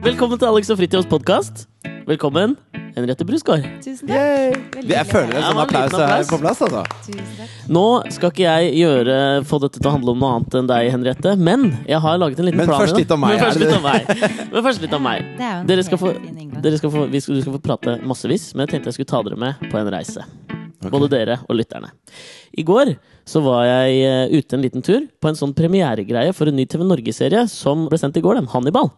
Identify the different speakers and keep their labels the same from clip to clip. Speaker 1: Velkommen til Alex og Fritjofs podkast. Velkommen, Henriette Brusgaard.
Speaker 2: Tusen takk.
Speaker 3: Yay!
Speaker 2: Veldig
Speaker 3: Jeg føler en
Speaker 1: Ja, det
Speaker 3: sånn
Speaker 1: var en
Speaker 3: applaus
Speaker 1: liten
Speaker 3: er
Speaker 1: applaus.
Speaker 3: på plass, altså.
Speaker 2: Tusen takk.
Speaker 1: Nå skal ikke jeg gjøre, få dette til å handle om noe annet enn deg, Henriette, men jeg har laget en liten
Speaker 3: Men
Speaker 1: plan. i
Speaker 3: først
Speaker 1: det.
Speaker 3: litt om meg,
Speaker 1: Men
Speaker 3: er
Speaker 1: først
Speaker 3: det
Speaker 1: litt om meg. Men først litt om meg.
Speaker 2: Det er jo en
Speaker 1: Dere skal få,
Speaker 2: helt fin inngang.
Speaker 1: dere skal få, vi skal, du skal få prate massevis, men jeg tenkte jeg skulle ta dere med på en reise. Både dere og lytterne. I går så var jeg eh, ute en liten tur på en sånn premieregreie for en ny TV Norge-serie som ble sendt i går, den. Hannibal.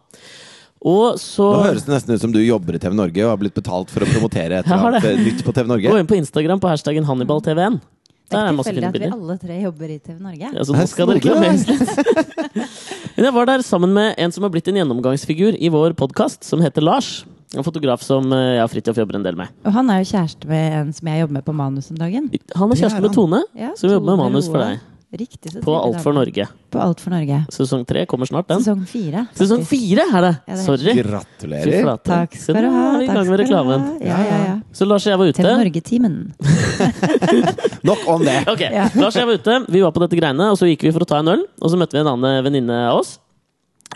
Speaker 1: Og så
Speaker 3: Nå høres det nesten ut som du jobber i TV Norge og har blitt betalt for å promotere et
Speaker 1: Jeg har
Speaker 3: eller
Speaker 1: det.
Speaker 3: annet nytt på TV
Speaker 1: Gå
Speaker 3: Norge.
Speaker 1: inn på Instagram på hashtaggen HannibalTVN.
Speaker 2: Det
Speaker 1: Der
Speaker 2: er
Speaker 1: er
Speaker 2: ikke
Speaker 1: masse
Speaker 2: tilfeldig
Speaker 1: fine
Speaker 2: at vi
Speaker 1: bilder.
Speaker 2: alle tre jobber i TV Norge.
Speaker 1: Altså,
Speaker 3: Nei,
Speaker 1: nå skal det
Speaker 3: snodig, da.
Speaker 1: reklameres litt. Men jeg var der sammen med en som har blitt en gjennomgangsfigur i vår podkast, som heter Lars. En fotograf som eh, jeg og Fridtjof jobber en del med.
Speaker 2: Og han er jo kjæreste med en som jeg jobber med på manus om dagen.
Speaker 1: Han er
Speaker 3: Det er
Speaker 1: kjæreste med
Speaker 3: han.
Speaker 1: Tone,
Speaker 2: Ja,
Speaker 1: som jobber med
Speaker 2: Tone
Speaker 1: manus for
Speaker 2: Roa.
Speaker 1: deg.
Speaker 2: Riktig, så
Speaker 1: På
Speaker 2: trivelig
Speaker 1: Alt for
Speaker 2: dame.
Speaker 1: Norge.
Speaker 2: På Alt for Norge.
Speaker 1: Sesong tre kommer snart, den.
Speaker 2: Sesong fire. faktisk.
Speaker 1: Sesong fire er det!
Speaker 2: Ja, det er
Speaker 1: Sorry. Fy
Speaker 3: Gratulerer.
Speaker 1: flate.
Speaker 2: Takk
Speaker 1: Så
Speaker 2: skal du
Speaker 1: nå
Speaker 2: ha.
Speaker 1: er vi i
Speaker 2: takk
Speaker 1: gang med
Speaker 2: skal du ha.
Speaker 1: reklamen.
Speaker 2: Ja, ja, ja.
Speaker 1: Så Lars og jeg var
Speaker 2: TV
Speaker 1: ute.
Speaker 2: Norge-timen.
Speaker 3: Nok om det.
Speaker 1: Ok,
Speaker 2: Ja.
Speaker 1: Lars og jeg var ute, vi var på dette greiene, og så gikk vi for å ta en øl. Og så møtte vi en annen venninne av oss.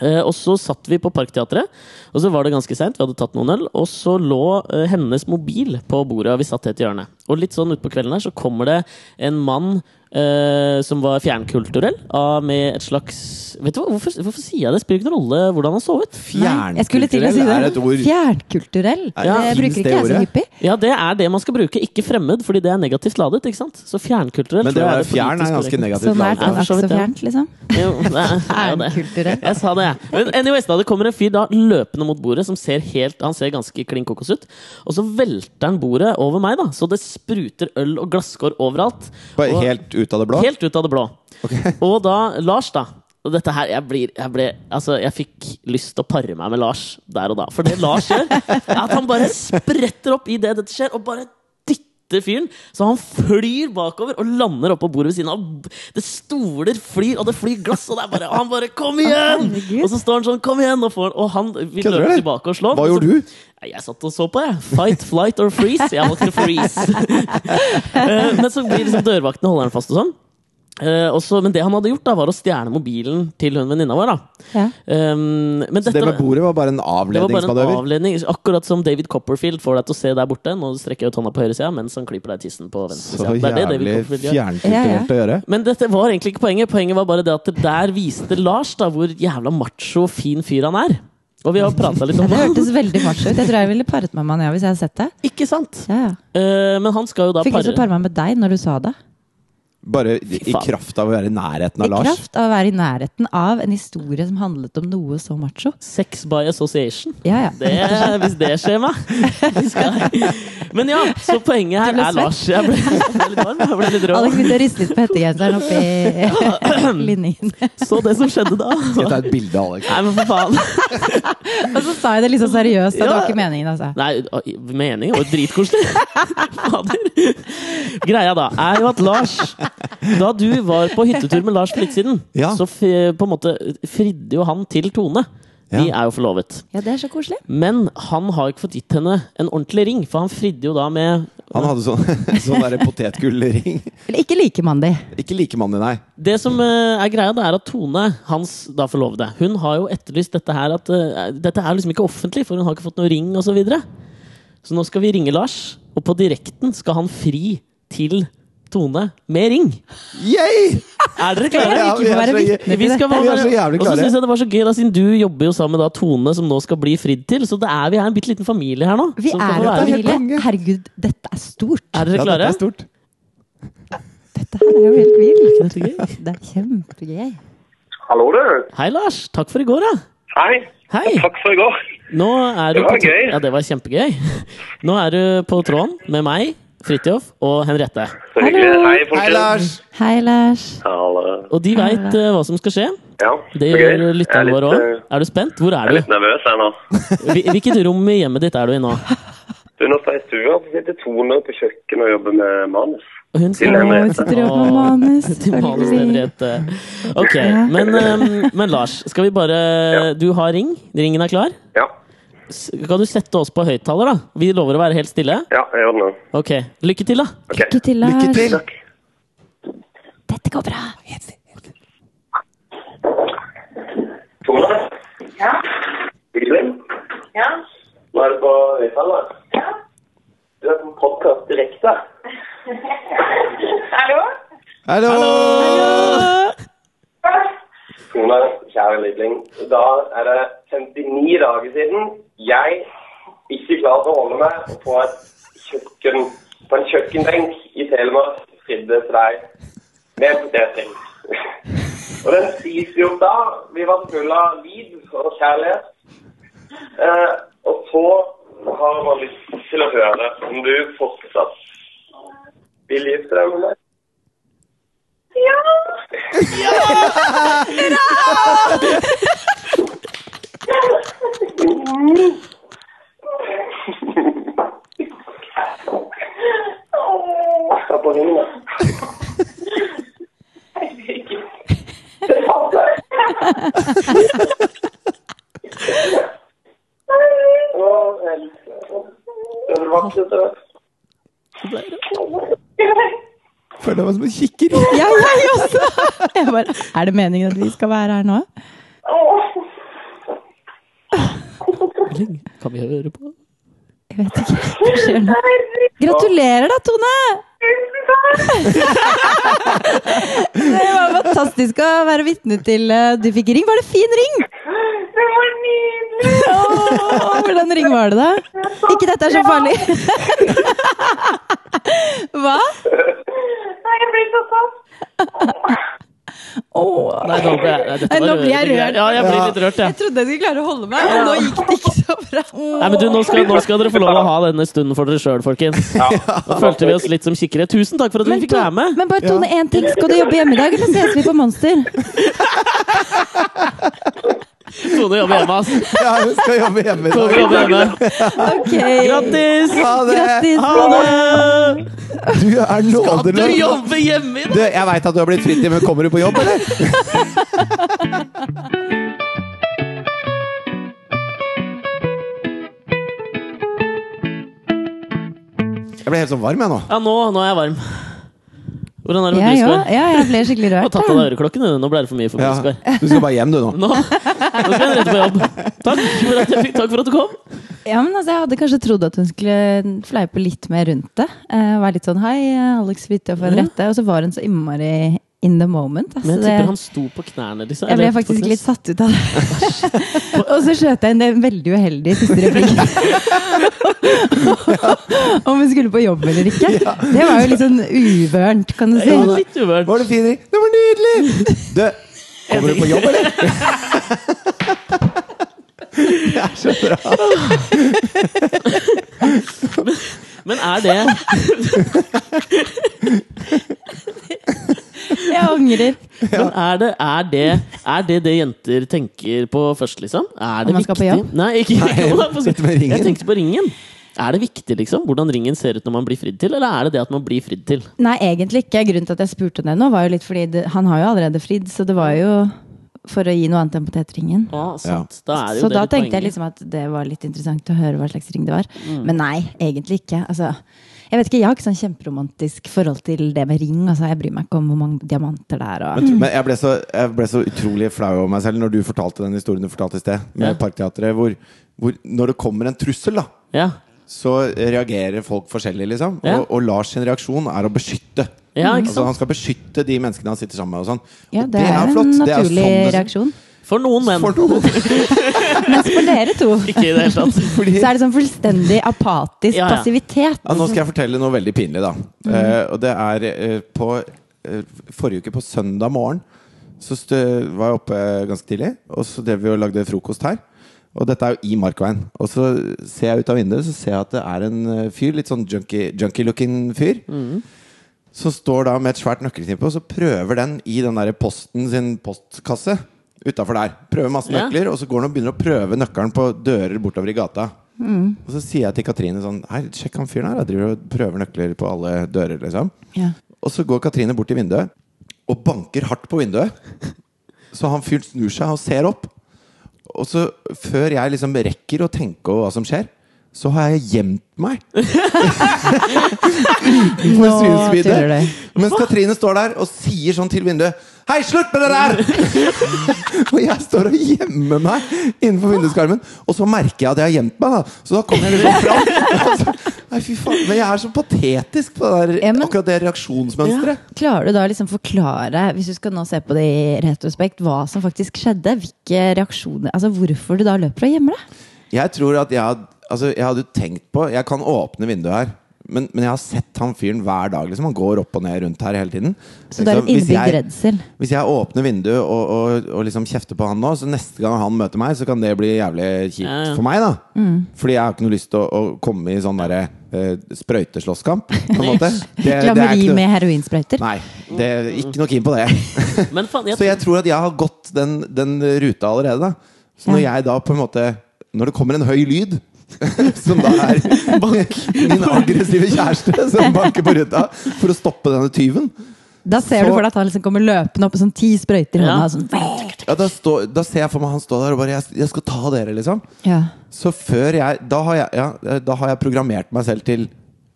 Speaker 1: Eh, og så satt vi på Parkteatret, og så var det ganske seint. Vi hadde tatt noen øl, og så lå eh, hennes mobil på bordet, og vi satt helt i hjørnet. Og litt sånn utpå kvelden her så kommer det en mann eh, som var fjernkulturell, av med et slags Vet du hva, hvorfor, hvorfor sier jeg det? Spiller ikke noen rolle hvordan han så ut.
Speaker 2: Nei, jeg skulle til å si
Speaker 3: Fjernkulturell er et ord.
Speaker 2: Fjernkulturell.
Speaker 3: Ja,
Speaker 2: det
Speaker 3: finnes
Speaker 2: bruker
Speaker 3: det
Speaker 2: ikke jeg så
Speaker 3: ordet?
Speaker 2: hyppig.
Speaker 1: Ja, det er det man skal bruke, ikke fremmed, fordi det er negativt ladet. ikke sant? Så fjernkulturell
Speaker 3: Men
Speaker 1: tror
Speaker 3: det
Speaker 1: jeg
Speaker 3: var
Speaker 1: det
Speaker 3: fjern er
Speaker 1: politisk Sånn
Speaker 3: ganske
Speaker 1: korrekte.
Speaker 2: Så
Speaker 3: negativt.
Speaker 2: nært
Speaker 1: Ja,
Speaker 2: og
Speaker 1: for
Speaker 2: akk
Speaker 1: så
Speaker 2: så
Speaker 1: vidt, ja.
Speaker 2: fjernt, liksom.
Speaker 1: Jo, det er jo det.
Speaker 2: Fjernkulturell.
Speaker 1: Jeg sa det, jeg. Men anyways, da, det kommer en fyr da løpende mot bordet som ser helt Han ser ganske klin kokos ut. Og så velter han bordet over meg, da. Så det spruter øl og glasskår overalt.
Speaker 3: Bare
Speaker 1: Og-
Speaker 3: Helt ut av det blå?
Speaker 1: Helt ut av det blå. Og da Lars, da. Og dette her, jeg blir, jeg ble, altså jeg fikk lyst til å pare meg med Lars der og da. For det Lars gjør, er at han bare spretter opp i det dette skjer, og bare dytter fyren. Så han flyr bakover og lander oppå bordet ved siden av. Det stoler flyr, og det flyr glass, og det er bare, og han bare 'kom igjen!'
Speaker 2: herregud.
Speaker 1: Og så står han sånn 'kom igjen', og, får, og han vil
Speaker 3: Kødder du,
Speaker 1: løpe
Speaker 3: eller?
Speaker 1: tilbake og slå.
Speaker 3: Hva
Speaker 1: Og så-
Speaker 3: gjorde du?
Speaker 1: Nei, Jeg satt og så på, jeg. Fight, flight or freeze. Jeg valgte freeze. Eh, Men så blir liksom dørvakten holder den fast og sånn. Eh, og så- men det han hadde gjort, da var å stjele mobilen til hun venninna vår. da
Speaker 2: Ja.
Speaker 1: um, men
Speaker 3: Så
Speaker 1: dette,
Speaker 3: det med bordet var bare en
Speaker 1: det var bare en
Speaker 3: avledningsmanøver?
Speaker 1: avledning. Akkurat som David Copperfield får deg til å se der borte. Nå strekker jeg ut hånda på høyre sida mens han klyper deg i tissen på venstre
Speaker 3: Så
Speaker 1: sida. Det er det David
Speaker 3: jævlig
Speaker 1: Copperfield gjør.
Speaker 3: fjernkulturelt å gjøre.
Speaker 1: Men dette var egentlig ikke poenget. Poenget var bare det at det der viste Lars da hvor jævla macho og fin fyr han er. Og vi har prata litt om det.
Speaker 2: Det hørtes veldig macho ut. Jeg tror jeg ville paret meg med han ja, hvis jeg hadde sett det.
Speaker 1: Ikke sant?
Speaker 2: Ja, ja.
Speaker 1: Eh, men han skal jo da
Speaker 2: Fikk lyst til
Speaker 1: pare
Speaker 2: å pare meg med deg når du sa det.
Speaker 3: Bare i i
Speaker 1: faen.
Speaker 3: kraft av å være i nærheten av
Speaker 2: I
Speaker 3: Lars.
Speaker 2: kraft av å være i nærheten av en historie som handlet om noe så macho.
Speaker 1: Sex by association.
Speaker 2: Ja, ja.
Speaker 1: Det, hvis det skjer meg. Vi skal- Men ja, så poenget her
Speaker 2: Du ble
Speaker 1: er
Speaker 2: svett.
Speaker 1: Lars. Jeg ble, jeg ble litt varm. Jeg ble litt rå.
Speaker 2: Alex begynte å riste litt på hettegenseren oppi linjen.
Speaker 1: Så det som skjedde da
Speaker 3: Skal jeg ta et bilde, Alex?
Speaker 1: Nei, men for faen.
Speaker 2: Og så sa jeg det litt sånn seriøst. at Det
Speaker 1: Ja.
Speaker 2: var ikke meningen, altså.
Speaker 1: Nei, meningen var jo dritkoselig. Fader. Greia da er jo at Lars Da du var på hyttetur med Lars for litt siden,
Speaker 3: Ja.
Speaker 1: så f- på en måte fridde jo han til Tone. De er jo forlovet.
Speaker 2: Ja, det er så koselig.
Speaker 1: Men han har ikke fått gitt henne en ordentlig ring, for han fridde jo da med
Speaker 3: Han hadde sånn, sånn derre potetgullring.
Speaker 2: Eller ikke like mandig.
Speaker 3: Ikke likemann i nei.
Speaker 1: Det som eh, er greia, det er at Tone, hans da forlovede, hun har jo etterlyst dette her at eh, Dette er liksom ikke offentlig, for hun har ikke fått noen ring, og Så, videre. så nå skal vi ringe Lars, og på direkten skal han fri til Tone med ring.
Speaker 3: Yay!
Speaker 1: Er dere
Speaker 2: Jeg
Speaker 1: klare?
Speaker 3: Ja,
Speaker 2: vil ikke få
Speaker 3: vi er så-
Speaker 2: være vitne
Speaker 1: Vi
Speaker 2: til
Speaker 1: skal
Speaker 2: dette.
Speaker 1: bare,
Speaker 3: Vi er så
Speaker 1: og
Speaker 3: jævlig
Speaker 1: så
Speaker 3: klare.
Speaker 1: synes jeg det var så gøy da, Siden du jobber jo sammen med da Tone, som nå skal bli fridd til. Så det er, vi er en bitte liten familie her nå.
Speaker 2: Vi
Speaker 1: som
Speaker 2: er
Speaker 1: skal få
Speaker 2: jo
Speaker 1: være-
Speaker 3: det helt
Speaker 2: familie.
Speaker 3: konge.
Speaker 2: Herregud, dette er stort.
Speaker 1: er dere
Speaker 3: Ja, dette
Speaker 1: klare?
Speaker 3: er stort.
Speaker 2: Dette her er jo helt vilt.
Speaker 1: Er dette gøy?
Speaker 2: Det er kjempegøy.
Speaker 4: Hallo, du.
Speaker 1: Hei, Lars. Takk for i går, da.
Speaker 4: Hei.
Speaker 1: Hei.
Speaker 4: Takk for i går.
Speaker 1: Nå er du
Speaker 4: Det var
Speaker 1: på tr-
Speaker 4: gøy.
Speaker 1: Ja, det var kjempegøy. Nå er du på tråden med meg, Fridtjof og Henriette.
Speaker 4: Så hyggelig.
Speaker 2: Hallo.
Speaker 4: Hei,
Speaker 3: Hei,
Speaker 4: folkens.
Speaker 3: Lars!
Speaker 2: Hei, Lars.
Speaker 4: Hallo.
Speaker 1: Og de veit hva som skal skje.
Speaker 4: Ja,
Speaker 1: Det
Speaker 4: så
Speaker 1: gjør
Speaker 4: gøy.
Speaker 1: lytterne
Speaker 4: Jeg er
Speaker 1: våre
Speaker 4: litt,
Speaker 1: òg.
Speaker 4: eh,
Speaker 1: Er du spent? Hvor
Speaker 4: Jeg
Speaker 1: er
Speaker 4: er
Speaker 1: du?
Speaker 4: litt nervøs her nå.
Speaker 1: Hvi- Hvilket rom i hjemmet ditt er du i nå?
Speaker 4: Du, nå står jeg i stua og sitter Tone på kjøkkenet og jobber med manus.
Speaker 1: Og Hun
Speaker 2: Å,
Speaker 4: Til Henriette.
Speaker 2: jeg sitter og jobber med
Speaker 1: Å,
Speaker 2: manus.
Speaker 1: til manus,
Speaker 2: selvfølgelig.
Speaker 1: Henriette. Ok, men, ehm, men Lars, skal vi bare Du har ring. Ringen er klar.
Speaker 4: Ja,
Speaker 1: S- Kan du sette oss på høyttaler, da? Vi lover å være helt stille.
Speaker 4: ja jeg gjør det nå.
Speaker 1: Ok, Lykke til, da.
Speaker 4: Ok.
Speaker 2: Lykke til,
Speaker 3: Lykke
Speaker 2: Lars.
Speaker 3: til!
Speaker 4: Takk.
Speaker 2: Dette går bra.
Speaker 4: Tone? Ja? Hyggelig. høyttaler. Du er på podkast direkte.
Speaker 5: Hallo?
Speaker 3: Hallo!
Speaker 4: Tone, kjære Lidling. Da er det 59 dager siden jeg ikke klarte å holde meg på, et kjøkken, på en kjøkkenbenk i Telemark fridde til deg med en potetring. Og den spiste jo opp da. Vi var fulle av liv og kjærlighet. Eh, og så har man lyst til å høre om du fortsatt vil gifte deg med meg.
Speaker 5: Ja! Åh,
Speaker 4: Ta på ringen, da.
Speaker 5: herregud.
Speaker 4: Å, helvete. Den vakreste.
Speaker 3: Føler meg som en kikker.
Speaker 2: Ja, jeg også! Jeg bare, er det meningen at vi skal være her nå?
Speaker 5: Åh.
Speaker 1: Erling, Kan vi høre på?
Speaker 2: Jeg vet ikke. Hva skjer nå? Gratulerer da, Tone! Det var fantastisk å være vitne til. eh, Du fikk ring. Var det fin ring?
Speaker 5: Det var nydelig!
Speaker 2: Åh, hvordan ring var det, da? Ikke dette er så farlig. Hva?
Speaker 5: Nei, jeg blir så satt.
Speaker 1: Nei, nå ble jeg, nei, dette
Speaker 2: Nei,
Speaker 1: var
Speaker 2: nå blir jeg
Speaker 1: rørende.
Speaker 2: rørt.
Speaker 1: Ja, jeg blir litt rørt, jeg.
Speaker 2: Jeg trodde jeg skulle klare å holde meg, og nå gikk det ikke så bra.
Speaker 1: Nei, men du, nå skal, nå skal dere få lov å ha denne stunden for dere sjøl, folkens. Nå følte vi oss litt som kikkere. Tusen takk for at vi
Speaker 2: Men,
Speaker 1: fikk være med.
Speaker 2: bare Tone, én ting. Skal du jobbe hjemme i dag, eller ses vi på Monster?
Speaker 1: Tone jobber hjemme, ass.
Speaker 3: Ja, hun skal jobbe hjemme i
Speaker 1: Tone
Speaker 3: dag.
Speaker 1: jobber hjemme.
Speaker 2: Ok.
Speaker 1: Grattis!
Speaker 3: Ha det!
Speaker 2: Grattis.
Speaker 1: Ha det!
Speaker 3: Du er
Speaker 1: Du
Speaker 3: nådeløs.
Speaker 1: jobber hjemme i dag!
Speaker 3: Du, jeg veit at du har blitt fritid, men kommer du på jobb, eller? Jeg ble helt sånn varm, jeg nå.
Speaker 1: Ja, nå, nå er jeg varm. Hvordan er det med
Speaker 2: Ja,
Speaker 1: du,
Speaker 2: ja,
Speaker 1: Skar?
Speaker 2: ja, jeg ble skikkelig
Speaker 1: Du har
Speaker 2: rørt.
Speaker 1: tatt
Speaker 2: da.
Speaker 1: av deg øreklokkene. du. Nå ble det for mye for
Speaker 3: Ja.
Speaker 1: meg, Skar.
Speaker 3: Du skal bare hjem, du nå.
Speaker 1: Nå, nå skal jeg rett på jobb. Takk for at, jeg fikk, takk for at du kom.
Speaker 2: Ja, men altså, Jeg hadde kanskje trodd at hun skulle fleipe litt mer rundt det. Eh, være litt sånn 'hei, Alex Fridtjof en
Speaker 1: Ja.
Speaker 2: rette', og så var hun så innmari in the moment. Altså,
Speaker 1: Men jeg
Speaker 2: det-
Speaker 1: tipper han sto på knærne. Liksom.
Speaker 2: jeg ble faktisk litt satt ut av det. og så skjøt jeg inn det veldig uheldige siste replikk. Om hun skulle på jobb eller ikke. Det var jo litt sånn uvørent, kan du si.
Speaker 1: Ja, litt uvørt.
Speaker 3: Var det fin ring? Det var nydelig! Du, kommer du på jobb, eller? Det er så bra.
Speaker 1: Men er det
Speaker 2: Jeg angrer.
Speaker 1: Men er det, er det, er det det jenter tenker på først, liksom? Er det
Speaker 2: Om man skal
Speaker 1: viktig?
Speaker 2: på jobb?
Speaker 1: Nei, ikke
Speaker 3: Nei, dette med ringen.
Speaker 1: Jeg tenkte på ringen. Er det viktig liksom, hvordan ringen ser ut når man blir fridd til, eller er det det at man blir fridd til?
Speaker 2: Nei, egentlig ikke. Grunnen til at jeg spurte henne nå, var jo litt fordi det, han har jo allerede fridd, så det var jo for å gi noe annet enn potetringen.
Speaker 1: Ja, Ah, sant. Da er det jo
Speaker 2: Så
Speaker 1: det
Speaker 2: da
Speaker 1: litt
Speaker 2: tenkte jeg
Speaker 1: poenget. Mm.
Speaker 2: liksom at det var litt interessant å høre hva slags ring det var. Men nei, egentlig ikke. Altså, jeg vet ikke, jeg har ikke sånn kjemperomantisk forhold til det med ring. Altså, jeg bryr meg ikke om hvor mange diamanter det er. Og...
Speaker 3: Men, men jeg, ble så, jeg ble så utrolig flau over meg selv når du fortalte den historien du fortalte i sted, med
Speaker 1: Ja.
Speaker 3: Parkteatret, hvor, hvor når det kommer en trussel, da,
Speaker 1: ja.
Speaker 3: så reagerer folk forskjellig, liksom.
Speaker 1: Ja.
Speaker 3: Og, og Lars sin reaksjon er å beskytte.
Speaker 1: Ja, ikke
Speaker 3: altså,
Speaker 1: sant?
Speaker 3: han skal beskytte de menneskene han sitter sammen med. Og sånn.
Speaker 2: Ja,
Speaker 3: og
Speaker 2: det, er en
Speaker 3: Det er jo
Speaker 2: naturlig
Speaker 3: sånn det-
Speaker 2: reaksjon.
Speaker 1: For noen menn.
Speaker 3: For noen.
Speaker 2: Mens for dere to
Speaker 1: Ikke i det hele tatt.
Speaker 3: Fordi
Speaker 2: så er det sånn fullstendig apatisk
Speaker 1: Ja, ja.
Speaker 2: passivitet.
Speaker 3: Ja, nå skal jeg fortelle noe veldig pinlig, da. Eh, og det er eh, på eh, Forrige uke, på søndag morgen, så stø, var jeg oppe ganske tidlig. Og så drev vi og lagde frokost her. Og dette er jo i Markveien. Og så ser jeg ut av vinduet, så ser jeg at det er en eh, fyr, litt sånn junkie- junkie-looking fyr, som står da med et svært nøkkelknippe, og så prøver den i den der posten sin postkasse utafor der. Prøver masse
Speaker 1: Ja.
Speaker 3: nøkler, og så går han og begynner å prøve nøkkelen på dører bortover i gata. Og så sier jeg til Katrine sånn Hei, sjekk han fyren her. Jeg driver og prøver nøkler på alle dører, liksom.
Speaker 2: Ja.
Speaker 3: Og så går Katrine bort til vinduet og banker hardt på vinduet. Så han fyren snur seg og ser opp. Og så, før jeg liksom rekker å tenke over hva som skjer, så har jeg gjemt meg. Utenfor
Speaker 2: Nå
Speaker 3: synsvidde.
Speaker 2: tuller du.
Speaker 3: Mens Katrine står der og sier sånn til vinduet Hei, slutt med det der! og jeg står og gjemmer meg innenfor vinduskarmen. Og så merker jeg at jeg har gjemt meg, da. Så da kommer jeg liksom fram. Og så- Nei, fy faen. Men jeg er så patetisk på det der,
Speaker 2: Ja, men-
Speaker 3: akkurat det reaksjonsmønsteret.
Speaker 2: Klarer du da å liksom forklare, hvis du skal nå se på det i retrospekt, hva som faktisk skjedde? Hvilke reaksjoner Altså hvorfor du da løper og gjemmer deg?
Speaker 3: Jeg tror at jeg, had- altså, jeg hadde tenkt på Jeg kan åpne vinduet her. Men, men jeg har sett han fyren hver dag. Liksom. Han går opp og ned rundt her hele tiden.
Speaker 2: Så det er en
Speaker 3: Liksom, hvis jeg-
Speaker 2: innebygd redsel.
Speaker 3: Hvis jeg åpner vinduet og, og, og liksom kjefter på han nå, så neste gang han møter meg, så kan det bli jævlig kjipt
Speaker 1: Ja, ja.
Speaker 3: for meg, da.
Speaker 2: Mm.
Speaker 3: Fordi jeg har ikke noe lyst til å, å komme i sånn derre eh, sprøyteslåsskamp, på en måte. Det- det er
Speaker 2: Klammeri
Speaker 3: ikke noe-
Speaker 2: med heroinsprøyter?
Speaker 3: Nei. Det er ikke noe keen på det.
Speaker 1: Men faen,
Speaker 3: Så jeg tror at jeg har gått den, den ruta allerede, da. Så når
Speaker 2: Ja.
Speaker 3: jeg da på en måte Når det kommer en høy lyd som da er min aggressive kjæreste som banker på ruta for å stoppe denne tyven.
Speaker 2: Da ser du
Speaker 3: Så-
Speaker 2: for deg at han liksom kommer løpende opp med sånn ti sprøyter i
Speaker 1: Ja.
Speaker 2: hånda. og Sånn.
Speaker 3: Ja, da, står- da ser jeg for meg han stå der og bare Jeg, jeg skal ta dere, liksom.
Speaker 2: Ja.
Speaker 3: Så før jeg Da har jeg, ja, da har jeg programmert meg selv til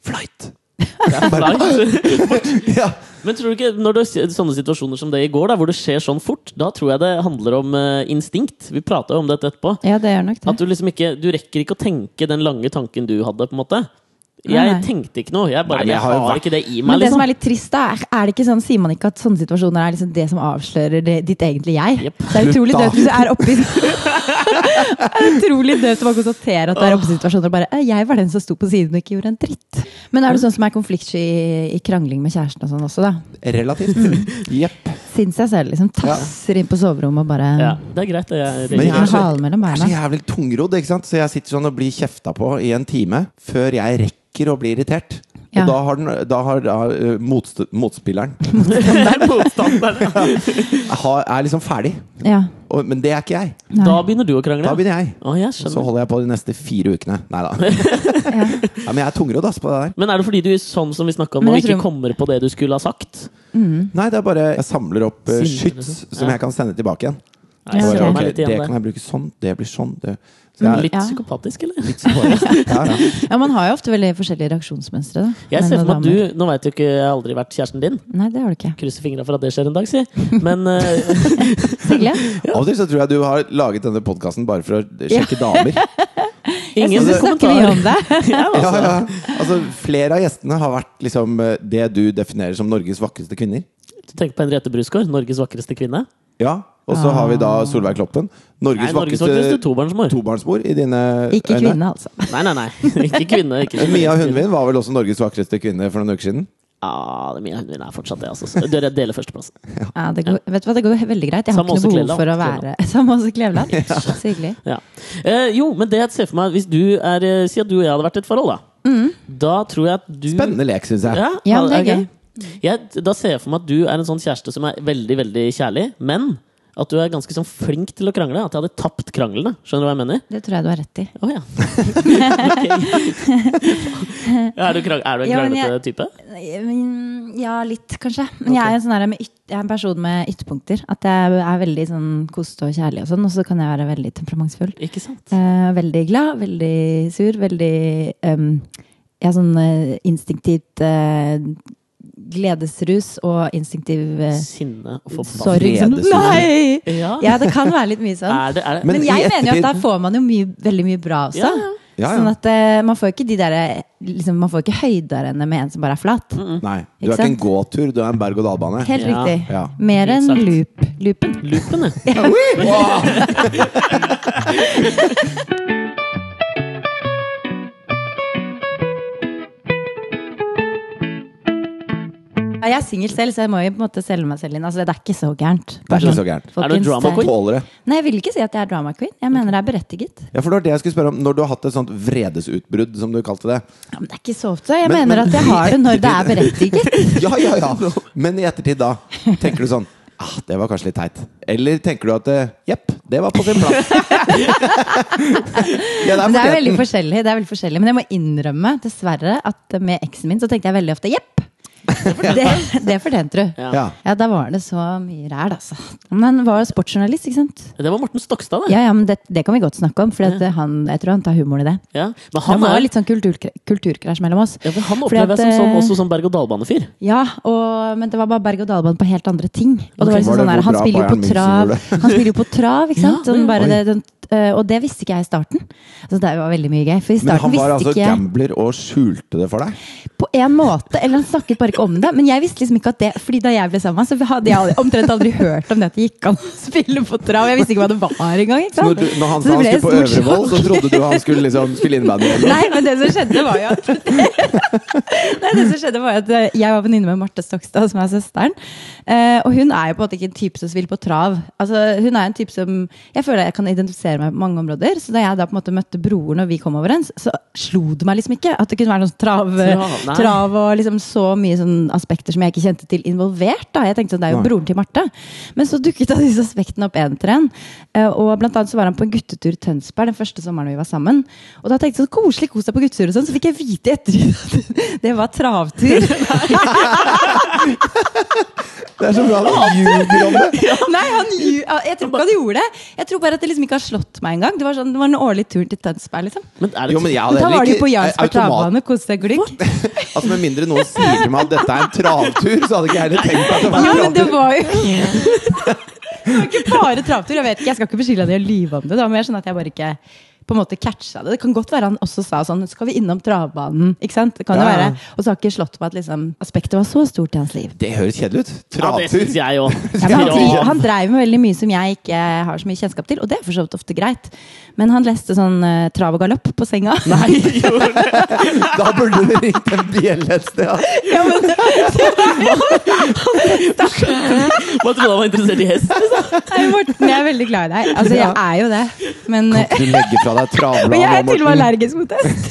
Speaker 3: flight. Bare, ja,
Speaker 1: Men tror du ikke, når det er sånne situasjoner som det i går, da, hvor det skjer sånn fort, da tror jeg det handler om eh, instinkt. Vi prata jo om dette etterpå.
Speaker 2: ja, det gjør nok det.
Speaker 1: At du liksom ikke Du rekker ikke å tenke den lange tanken du hadde, på en måte.
Speaker 2: Nei,
Speaker 1: Jeg
Speaker 2: nei.
Speaker 1: tenkte ikke noe. Jeg, bare,
Speaker 3: Nei, men jeg
Speaker 1: jeg
Speaker 3: har jo
Speaker 1: har
Speaker 3: vært-
Speaker 1: ikke det i meg,
Speaker 2: Men det som
Speaker 1: liksom.
Speaker 2: er litt trist, da, er, er det ikke sånn, sier man ikke at sånne situasjoner er liksom det som avslører det, ditt egentlige jeg?
Speaker 1: Jepp.
Speaker 2: Det er utrolig
Speaker 3: Slutt, da.
Speaker 2: døvt hvis du er oppi Det er utrolig døvt å bare konstatere at du er oppe i situasjoner og bare «Eh, 'Jeg var den som sto på siden og ikke gjorde en dritt'. Men er du sånn som er konfliktsky i, i krangling med kjæresten og sånn også, da?
Speaker 3: relativt. Jepp.
Speaker 2: Sinns jeg selv, liksom. Tasser inn på soverommet og bare
Speaker 1: Ja, det er greit, det. Jeg,
Speaker 3: Men jeg er
Speaker 2: Med
Speaker 3: så-
Speaker 2: halen mellom
Speaker 3: Jeg er så
Speaker 2: beina.
Speaker 3: jævlig tungrodd, ikke sant? så jeg sitter sånn og blir kjefta på i en time før jeg rekker å bli irritert.
Speaker 2: Ja.
Speaker 3: Og da har, den, da har da, eh, motst motspilleren
Speaker 1: er motstanderen.
Speaker 3: har, er liksom ferdig.
Speaker 2: Ja.
Speaker 3: Og, men det er ikke jeg.
Speaker 2: Nei.
Speaker 1: Da begynner du å krangle.
Speaker 3: Da begynner jeg.
Speaker 1: Å, jeg
Speaker 3: Så
Speaker 1: skjønner.
Speaker 3: holder jeg på de neste fire ukene. Nei da. ja, men jeg er tungrodd ass, på det der.
Speaker 1: Men er det fordi du sånn som vi snakket om,
Speaker 2: Men
Speaker 1: nå,
Speaker 2: jeg
Speaker 1: ikke
Speaker 2: tror-
Speaker 1: kommer på det du skulle ha sagt?
Speaker 3: Nei, det er bare Jeg samler opp eh,
Speaker 1: Sinne,
Speaker 3: skyts
Speaker 1: liksom.
Speaker 3: som
Speaker 1: Ja.
Speaker 3: jeg kan sende tilbake igjen.
Speaker 1: Nei,
Speaker 2: Ja,
Speaker 1: jeg
Speaker 3: Bare, sånn,
Speaker 1: kjenner
Speaker 2: ok,
Speaker 1: meg
Speaker 3: ok,
Speaker 1: litt
Speaker 3: det
Speaker 1: igjen
Speaker 3: kan
Speaker 1: der.
Speaker 3: jeg bruke sånn, det blir sånn. Det. Så
Speaker 1: Men
Speaker 3: jeg,
Speaker 1: Litt
Speaker 2: Ja.
Speaker 1: psykopatisk, eller?
Speaker 3: litt sånn. ja, ja.
Speaker 2: ja, man har jo ofte veldig forskjellige reaksjonsmønstre, da.
Speaker 1: Jeg ser
Speaker 2: Menn
Speaker 1: for
Speaker 2: og
Speaker 1: meg at
Speaker 2: damer.
Speaker 1: du Nå vet jo ikke jeg har aldri vært kjæresten din.
Speaker 2: Nei, det har du ikke.
Speaker 1: Krysser fingra for at det skjer en dag, si. Men eh,
Speaker 2: Silje?
Speaker 3: Av og til så tror jeg du har laget denne podkasten bare for å sjekke damer.
Speaker 1: ingen
Speaker 2: Jeg syns vi snakker mye
Speaker 1: kommentar.
Speaker 2: om det.
Speaker 1: Ja,
Speaker 3: Ja,
Speaker 1: altså.
Speaker 3: ja. Altså, flere av gjestene har vært liksom, eh, det du definerer som Norges vakreste kvinner.
Speaker 1: Du tenker på Henriette Brusgaard, Norges vakreste kvinne.
Speaker 3: Ja, Og så har vi da Solveig Kloppen. Norges,
Speaker 1: Nei, Norges vakreste tobarnsmor.
Speaker 3: tobarnsmor i dine
Speaker 2: Ikke kvinne, altså.
Speaker 1: Nei, nei, nei. Ikke kvinne. Ikke kvinne.
Speaker 3: Mia Hundvin var vel også Norges vakreste kvinne for noen uker siden.
Speaker 1: Ja, det er Mia Hundvin er fortsatt det, altså. Så Dere deler førsteplass.
Speaker 2: Ja, det går, vet du hva, det går veldig greit. Jeg har
Speaker 1: Samme
Speaker 2: ikke noe
Speaker 1: Åse
Speaker 2: behov for å
Speaker 1: Kleveland.
Speaker 2: være Samme Åse Kleveland. Så hyggelig.
Speaker 1: Ja. Eh, jo, men det jeg ser for meg Hvis du er eh, Si at du og jeg hadde vært i et forhold, da. Da tror jeg at du
Speaker 3: Spennende lek, syns jeg.
Speaker 1: Ja,
Speaker 2: Mm. Ja, men det er
Speaker 1: ok. Jeg, da ser jeg for meg at du er en sånn kjæreste som er veldig veldig kjærlig, men at du er ganske sånn flink til å krangle. At jeg hadde tapt kranglene. Skjønner du hva jeg mener?
Speaker 2: Det tror jeg du har rett i.
Speaker 1: Å ja. Ok. er, du krang, er du en
Speaker 2: Ja, men
Speaker 1: kranglete
Speaker 2: jeg-
Speaker 1: type?
Speaker 2: Ja, litt, kanskje. Men jeg er en, sånn der med yt, jeg er en person med ytterpunkter. At jeg er veldig sånn koste og kjærlig og sånn, og så kan jeg være veldig temperamentsfull.
Speaker 1: Ikke sant?
Speaker 2: Eh, veldig glad, veldig sur, veldig em, Jeg har sånn eh, instinktivt eh, gledesrus og instinktiv eh,
Speaker 1: Sinne og forbanna.
Speaker 2: sorg. Sånn,
Speaker 3: Vredesrus.
Speaker 2: nei!
Speaker 1: Ja.
Speaker 2: Ja, det kan være litt mye sånn.
Speaker 1: Er det, er det,
Speaker 3: Men
Speaker 2: Men,
Speaker 3: i
Speaker 2: jeg mener jo
Speaker 3: ettertid-
Speaker 2: at da får man jo mye, veldig mye bra også.
Speaker 1: Ja, ja.
Speaker 3: Ja, ja.
Speaker 2: Sånn at eh, man får jo ikke de der, eh, liksom, Man får jo ikke høyderenne med en som bare er flat.
Speaker 3: Nei, Du
Speaker 2: Ikke
Speaker 3: er ikke en
Speaker 2: sant?
Speaker 3: gåtur, du er en berg-og-dal-bane.
Speaker 2: Helt
Speaker 1: Ja.
Speaker 2: riktig.
Speaker 3: Ja.
Speaker 2: Mer enn
Speaker 1: Exakt.
Speaker 2: loop. loopen.
Speaker 1: Loopen, ja.
Speaker 2: Ja, jeg er singel selv, så jeg må jo på en måte selge meg selv inn. Altså, det er ikke så gærent.
Speaker 3: Det er ikke så gærent.
Speaker 1: Er du
Speaker 2: Folkens,
Speaker 1: drama
Speaker 2: det-
Speaker 1: queen?
Speaker 3: Tåler det.
Speaker 2: Nei, jeg vil ikke si at jeg er drama queen. Jeg mener det er berettiget.
Speaker 3: Ja, for det var det jeg skulle spørre om. Når du har hatt et sånt vredesutbrudd, som du kalte det.
Speaker 2: Ja, men det er ikke så ofte. Jeg
Speaker 3: Men-
Speaker 2: mener
Speaker 3: men-
Speaker 2: at jeg har det når det er berettiget.
Speaker 3: Ja, ja, ja. Men i ettertid, da? Tenker du sånn ah, Det var kanskje litt teit. Eller tenker du at eh, Jepp, det var på sin plass.
Speaker 2: Men det
Speaker 3: ja,
Speaker 2: er
Speaker 3: fortjent.
Speaker 2: veldig forskjellig. Det er veldig forskjellig. Men jeg må innrømme, dessverre, at med eksen min så tenkte jeg veldig ofte jepp. Det, det fortjente du.
Speaker 1: Ja.
Speaker 3: Ja.
Speaker 2: Ja, der var det så mye ræl, altså. Men var jo sportsjournalist, ikke sant?
Speaker 1: Det var Morten Stokstad, det.
Speaker 2: Ja, ja, men det, det kan vi godt snakke om, for at han, jeg tror han tar humoren i det.
Speaker 1: Ja. Men
Speaker 2: Han
Speaker 1: han,
Speaker 2: det var
Speaker 1: er,
Speaker 2: litt sånn kulturkra- kulturkrasj mellom oss.
Speaker 1: ja, for han
Speaker 2: Fordi at,
Speaker 1: opplever jeg som sånn,
Speaker 2: eh,
Speaker 1: også som berg-og-dal-bane-fyr.
Speaker 2: Ja, og, men det var bare berg-og-dal-bane på helt andre ting. Og det var liksom sånn
Speaker 3: Var det
Speaker 2: der,
Speaker 3: hvor
Speaker 2: Han
Speaker 3: bra
Speaker 2: spiller jo
Speaker 3: Bayern
Speaker 2: på
Speaker 3: München
Speaker 2: trav,
Speaker 3: gjorde
Speaker 2: Han spiller jo på trav, ikke
Speaker 1: Ja,
Speaker 2: sant? Sånn bare
Speaker 3: oi.
Speaker 2: det, den, øh, og det visste ikke jeg i starten. Altså, det var veldig mye gøy. For i
Speaker 3: Men
Speaker 2: starten
Speaker 3: han var
Speaker 2: visste
Speaker 3: altså
Speaker 2: ikke jeg
Speaker 3: gambler og skjulte det for deg?
Speaker 2: på en måte, eller han snakket bare ikke om det. Men jeg visste liksom ikke at det Fordi da jeg ble sammen med ham, så hadde jeg aldri- omtrent aldri hørt om det at det gikk an å spille på trav. Jeg visste ikke hva det var engang. ikke
Speaker 3: Så når,
Speaker 2: sant?
Speaker 3: du, når han
Speaker 2: Så
Speaker 3: sa
Speaker 2: det
Speaker 3: han
Speaker 2: ble
Speaker 3: skulle på
Speaker 2: et stort
Speaker 3: Øvrevoll, så
Speaker 2: sjokk.
Speaker 3: trodde du han skulle liksom spille innebandy? eller noe?
Speaker 2: Nei, men det som skjedde var jo at Nei, det som skjedde var jo at eh, Jeg var venninne med Marte Stokstad, som er søsteren. Eh, og hun er jo på en måte ikke en type som spiller på trav. Altså, hun er en type som Jeg føler jeg kan identifisere meg på mange områder. Så da jeg da på en måte møtte broren og vi kom overens, så slo det meg liksom ikke at det kunne være noe sånn trav,
Speaker 1: Trav, nei.
Speaker 2: trav og liksom så mye sånn aspekter som jeg ikke kjente til involvert. da. Jeg tenkte sånn, det er jo
Speaker 3: Nei.
Speaker 2: broren til Marte. Men så dukket da disse aspektene opp en etter en. Eh, Og blant annet så var han på en guttetur i Tønsberg den første sommeren vi var sammen. Og da tenkte jeg sånn, koselig, kos deg på guttetur og sånn. Så fikk jeg vite etter at det var travtur.
Speaker 3: Det er så bra han ljuger om det!
Speaker 2: Nei, han, lju- jeg tror ikke han gjorde det. Jeg tror bare at det liksom ikke har slått meg engang. Det var sånn, det var en årlig tur til Tønsberg, liksom.
Speaker 1: Men er det
Speaker 3: Jo, men jeg hadde
Speaker 2: Men da
Speaker 3: heller
Speaker 2: var det jo
Speaker 3: ikke-
Speaker 2: på
Speaker 3: eh,
Speaker 2: Jarlsberg
Speaker 3: automat-
Speaker 2: travbane, kos deg glugg.
Speaker 3: Altså Med mindre noen sier til meg at dette er en travtur, så hadde ikke jeg heller tenkt at det var
Speaker 2: Ja,
Speaker 3: en
Speaker 2: men det
Speaker 3: travtur.
Speaker 2: var jo Det var ikke bare travtur. Jeg vet ikke, jeg skal ikke beskylde deg i å lyve om det. Det var mer sånn at jeg bare ikke på en måte catcha det. Det kan godt være han også sa sånn Skal vi innom travbanen? Ikke sant? Det kan jo
Speaker 3: Ja, ja.
Speaker 2: være. Og så har ikke slått på at liksom, aspektet var så stort i hans liv.
Speaker 3: Det høres kjedelig ut.
Speaker 1: Ja, det
Speaker 3: Travtur.
Speaker 1: syns jeg òg.
Speaker 2: Ja, men han, dri- han dreiv med veldig mye som jeg ikke har så mye kjennskap til, og det er for så vidt ofte greit. Men han leste sånn eh, trav og galopp på senga.
Speaker 3: Da burde det ringt en bjelle et sted. altså.
Speaker 2: ja, men,
Speaker 1: Man trodde han var interessert i hest.
Speaker 2: nei, Morten, jeg er veldig glad i deg. Altså, jeg er jo det. Men
Speaker 3: Kan ikke du legge fra deg
Speaker 2: og
Speaker 3: travbladet
Speaker 2: jeg er
Speaker 3: nå,
Speaker 2: til og med
Speaker 3: Morten?
Speaker 2: allergisk mot hest.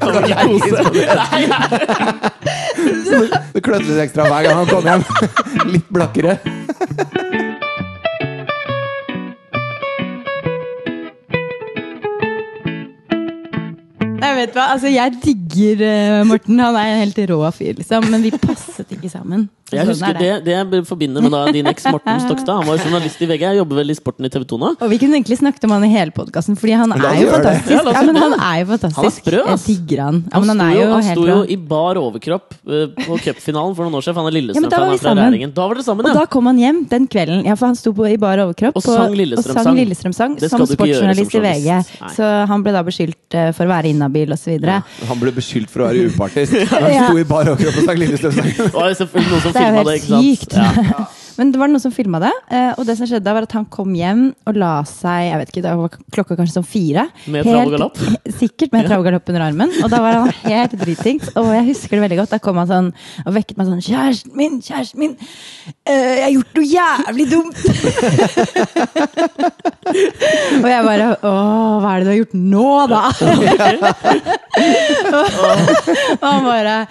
Speaker 1: Kan man ikke kose? Nei, nei.
Speaker 3: Det klødde litt ekstra hver gang han kom hjem. Litt blakkere.
Speaker 2: Jeg vet hva, altså jeg digger eh, Morten. Han er en helt rå fyr, liksom. Men vi passet ikke sammen.
Speaker 1: Jeg
Speaker 2: Sånn
Speaker 1: husker
Speaker 2: er
Speaker 1: det, det jeg forbinder med da din eks Morten Stokstad. Han var jo journalist i VG. Jeg jobber vel i Sporten i TV 2 nå.
Speaker 2: Og vi kunne egentlig snakket om han i hele podkasten, fordi han
Speaker 3: la
Speaker 2: er
Speaker 3: oss
Speaker 2: jo
Speaker 3: gjøre det.
Speaker 2: fantastisk.
Speaker 1: Ja, la
Speaker 2: Ja,
Speaker 1: oss
Speaker 2: men
Speaker 1: gjøre
Speaker 2: han
Speaker 1: det.
Speaker 2: er jo fantastisk.
Speaker 1: Han er sprø, ass.
Speaker 2: Jeg digger han. Ja, men han er
Speaker 1: sto
Speaker 2: jo
Speaker 1: han
Speaker 2: helt
Speaker 1: sto jo
Speaker 2: rå.
Speaker 1: i bar overkropp eh, på cupfinalen for noen år siden. For han er
Speaker 2: Ja, men da
Speaker 1: Lillestrøm-fan. han
Speaker 2: var vi
Speaker 1: er fra
Speaker 2: sammen.
Speaker 1: Rælingen. Da var dere sammen,
Speaker 2: Og
Speaker 1: ja.
Speaker 2: da kom han hjem den kvelden. Ja, for han sto på, i bar overkropp
Speaker 1: Og sang
Speaker 2: og
Speaker 1: Lillestrøm-sang.
Speaker 2: sang Lillestrøm-sang
Speaker 1: Det skal
Speaker 2: som
Speaker 1: du ikke gjøre som
Speaker 2: sportsjournalist i VG.
Speaker 1: journalist. Nei.
Speaker 2: Så han ble da beskyldt eh, for å være inhabil osv. videre
Speaker 3: Han ble beskyldt for å være upartisk. Han sto i bar overkropp og sang Lillestrøm-sangen.
Speaker 1: Det var jo selvfølgelig noen som
Speaker 2: Det er jo
Speaker 1: filma
Speaker 2: helt
Speaker 1: det. ikke sant?
Speaker 2: sykt. Men det var noen som filma det, eh, og det som skjedde da var at han kom hjem og la seg jeg vet ikke, det var klokka kanskje sånn fire.
Speaker 1: Med trav og galopp?
Speaker 2: Sikkert med trav og galopp under armen. Og da var han helt dritings. Og jeg husker det veldig godt. Da kom han sånn og vekket meg sånn 'Kjæresten min, kjæresten min, eh, jeg har gjort noe jævlig dumt!' og jeg bare 'Å, hva er det du har gjort nå, da?' Og han bare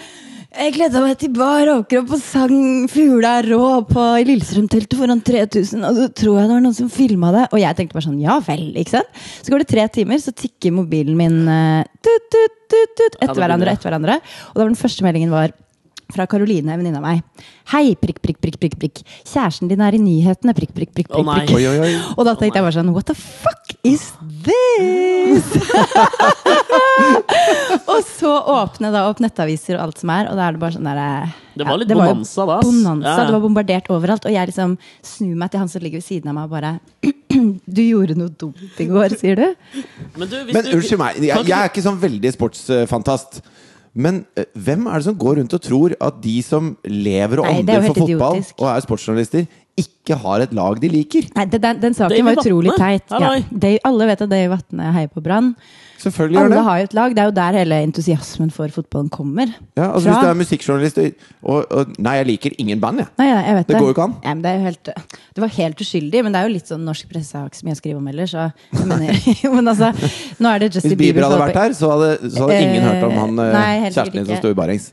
Speaker 2: Jeg gleda meg til bar overkropp og sang 'Fugla er rå' på i Lillestrøm-teltet foran 3000. Og så tror jeg det var noen som filma det. Og jeg tenkte bare sånn, ja vel, ikke sant? Så går det tre timer, så tikker mobilen min eh, tut, tut, tut, tut,
Speaker 1: Ja, det
Speaker 2: etter
Speaker 1: blir
Speaker 2: hverandre
Speaker 1: det.
Speaker 2: etter hverandre. Og da var den første meldingen var fra Karoline, en venninne av meg. Hei, prikk, prikk, prikk, prikk, prikk. Kjæresten din er i nyhetene, prikk, prikk, prikk.
Speaker 1: Å,
Speaker 2: prikk,
Speaker 1: nei.
Speaker 2: prikk.
Speaker 3: Oi, oi, oi.
Speaker 2: Og da tenkte jeg bare sånn What the fuck is this? og så åpne da opp nettaviser og alt som er, og da er det bare sånn der eh,
Speaker 1: Det var litt
Speaker 2: jo
Speaker 1: bonanza da, ass.
Speaker 2: Bonanza,
Speaker 1: Ja, ja.
Speaker 2: Det var bombardert overalt, og jeg liksom snur meg til han som ligger ved siden av meg og bare Du gjorde noe dumt i går, sier du?
Speaker 1: Men, du, hvis
Speaker 3: Men
Speaker 1: du-
Speaker 3: unnskyld meg,
Speaker 1: Kan
Speaker 3: jeg,
Speaker 1: ikke
Speaker 3: jeg er ikke sånn veldig sportsfantast. Men eh, hvem er det som går rundt og tror at de som lever og
Speaker 2: Nei, det er jo
Speaker 3: ånder for
Speaker 2: helt
Speaker 3: fotball
Speaker 2: idiotisk.
Speaker 3: og er sportsjournalister, ikke har et lag de liker?
Speaker 2: Nei, det, den, den saken
Speaker 1: Dave
Speaker 2: var utrolig
Speaker 1: Vatne.
Speaker 2: teit. Ja,
Speaker 1: Halloi.
Speaker 2: Dave, alle vet at Dave Vatne heier på Brann.
Speaker 3: Selvfølgelig gjør
Speaker 2: Alle
Speaker 3: det.
Speaker 2: har jo et lag. Det er jo der hele entusiasmen for fotballen kommer.
Speaker 3: Ja, altså
Speaker 2: fra.
Speaker 3: Hvis du er musikkjournalist og, og, og Nei, jeg liker ingen band, jeg.
Speaker 2: Nei, ja, jeg vet
Speaker 3: Det
Speaker 2: det.
Speaker 3: går jo ikke an.
Speaker 2: Nei, men det, er jo helt, det var helt uskyldig, men det er jo litt sånn norsk presse har ikke så mye å skrive om heller, så jeg mener, jo, men altså, nå er det
Speaker 3: Hvis
Speaker 2: Justin
Speaker 3: Bieber
Speaker 2: Bieber
Speaker 3: hadde
Speaker 2: som
Speaker 3: vært
Speaker 2: er på-
Speaker 3: her, så hadde, så hadde ingen
Speaker 2: Eh,
Speaker 3: hørt om han eh,
Speaker 2: nei, helt sikkert
Speaker 3: kjæresten din som
Speaker 2: ikke.
Speaker 3: sto i barengs.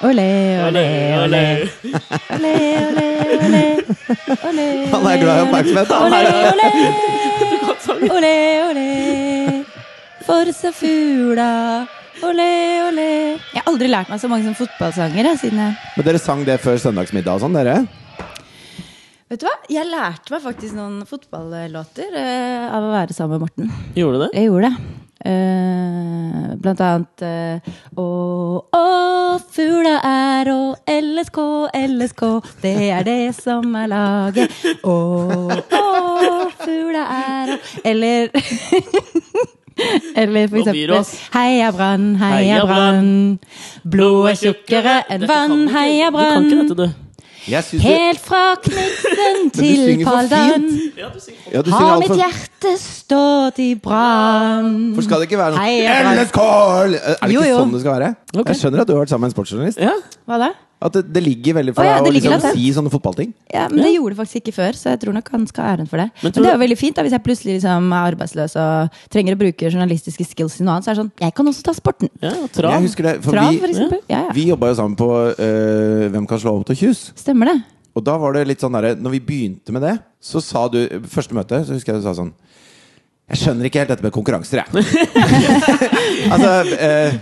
Speaker 2: Olé, olé,
Speaker 1: Olé,
Speaker 2: olé,
Speaker 1: olé.
Speaker 2: olé, olé, olé, olé,
Speaker 3: Han er glad i oppmerksomhet, han
Speaker 2: Olé,
Speaker 3: her.
Speaker 2: olé, olé, olé, olé, forse fugla, Ole, ole. Jeg har aldri lært meg så mange som fotballsanger. Jeg, siden jeg
Speaker 3: Men dere sang det før søndagsmiddag og sånn, dere?
Speaker 2: Vet du hva? Jeg lærte meg faktisk noen fotballåter eh, av å være sammen med Morten.
Speaker 1: Gjorde du det?
Speaker 2: Jeg gjorde det. Eh, blant annet eh, Å, å, fugla er å, LSK, LSK, det er det som er laget. Å, å, fugla er å Eller Eller for
Speaker 1: Nå blir det
Speaker 2: eksempel
Speaker 1: oss.
Speaker 2: Heia Brann, heia
Speaker 1: Heia
Speaker 2: Brann. Blodet er tjukkere enn
Speaker 1: Dette kan
Speaker 2: vann,
Speaker 1: du ikke.
Speaker 2: heia
Speaker 1: Du kan
Speaker 2: Brann.
Speaker 1: ikke dette, du.
Speaker 3: Jeg syns du
Speaker 2: Helt fra Knutsen til
Speaker 3: synger for
Speaker 2: Paldan.
Speaker 3: Ja, du synger
Speaker 2: Har
Speaker 3: alt
Speaker 2: mitt
Speaker 3: for-
Speaker 2: hjerte stått i brann?
Speaker 3: For skal det ikke være noe
Speaker 2: Heia, Brann.
Speaker 3: LSK! Er det
Speaker 2: Jo,
Speaker 3: ikke
Speaker 2: jo.
Speaker 3: sånn det skal være?
Speaker 1: Ok.
Speaker 3: Jeg skjønner at du har vært sammen med en sportsjournalist.
Speaker 1: Ja.
Speaker 2: Hva da?
Speaker 3: At det, det ligger veldig
Speaker 2: Å,
Speaker 3: for
Speaker 2: ja,
Speaker 3: deg å
Speaker 2: det ligger
Speaker 3: liksom,
Speaker 2: latent.
Speaker 3: si sånne fotballting.
Speaker 2: Ja, men Det gjorde det faktisk ikke før, så jeg tror nok han skal ha æren for det.
Speaker 1: tror
Speaker 2: Men, det
Speaker 1: du-
Speaker 2: er jo veldig fint da, Hvis jeg plutselig liksom, er arbeidsløs og trenger å bruke journalistiske skills til noe annet, så er det sånn Jeg kan også ta sporten.
Speaker 1: ja og trav.
Speaker 3: Jeg husker det, for
Speaker 2: Trav, for
Speaker 3: vi,
Speaker 2: eksempel. Ja, ja.
Speaker 3: vi jobba jo sammen på eh, Hvem kan slå opp til Kjus?
Speaker 2: Stemmer det.
Speaker 3: Og da var det litt sånn derre Når vi begynte med det, så sa du Første møte, så husker jeg du sa sånn jeg skjønner ikke helt dette med konkurranser, jeg. altså, eh,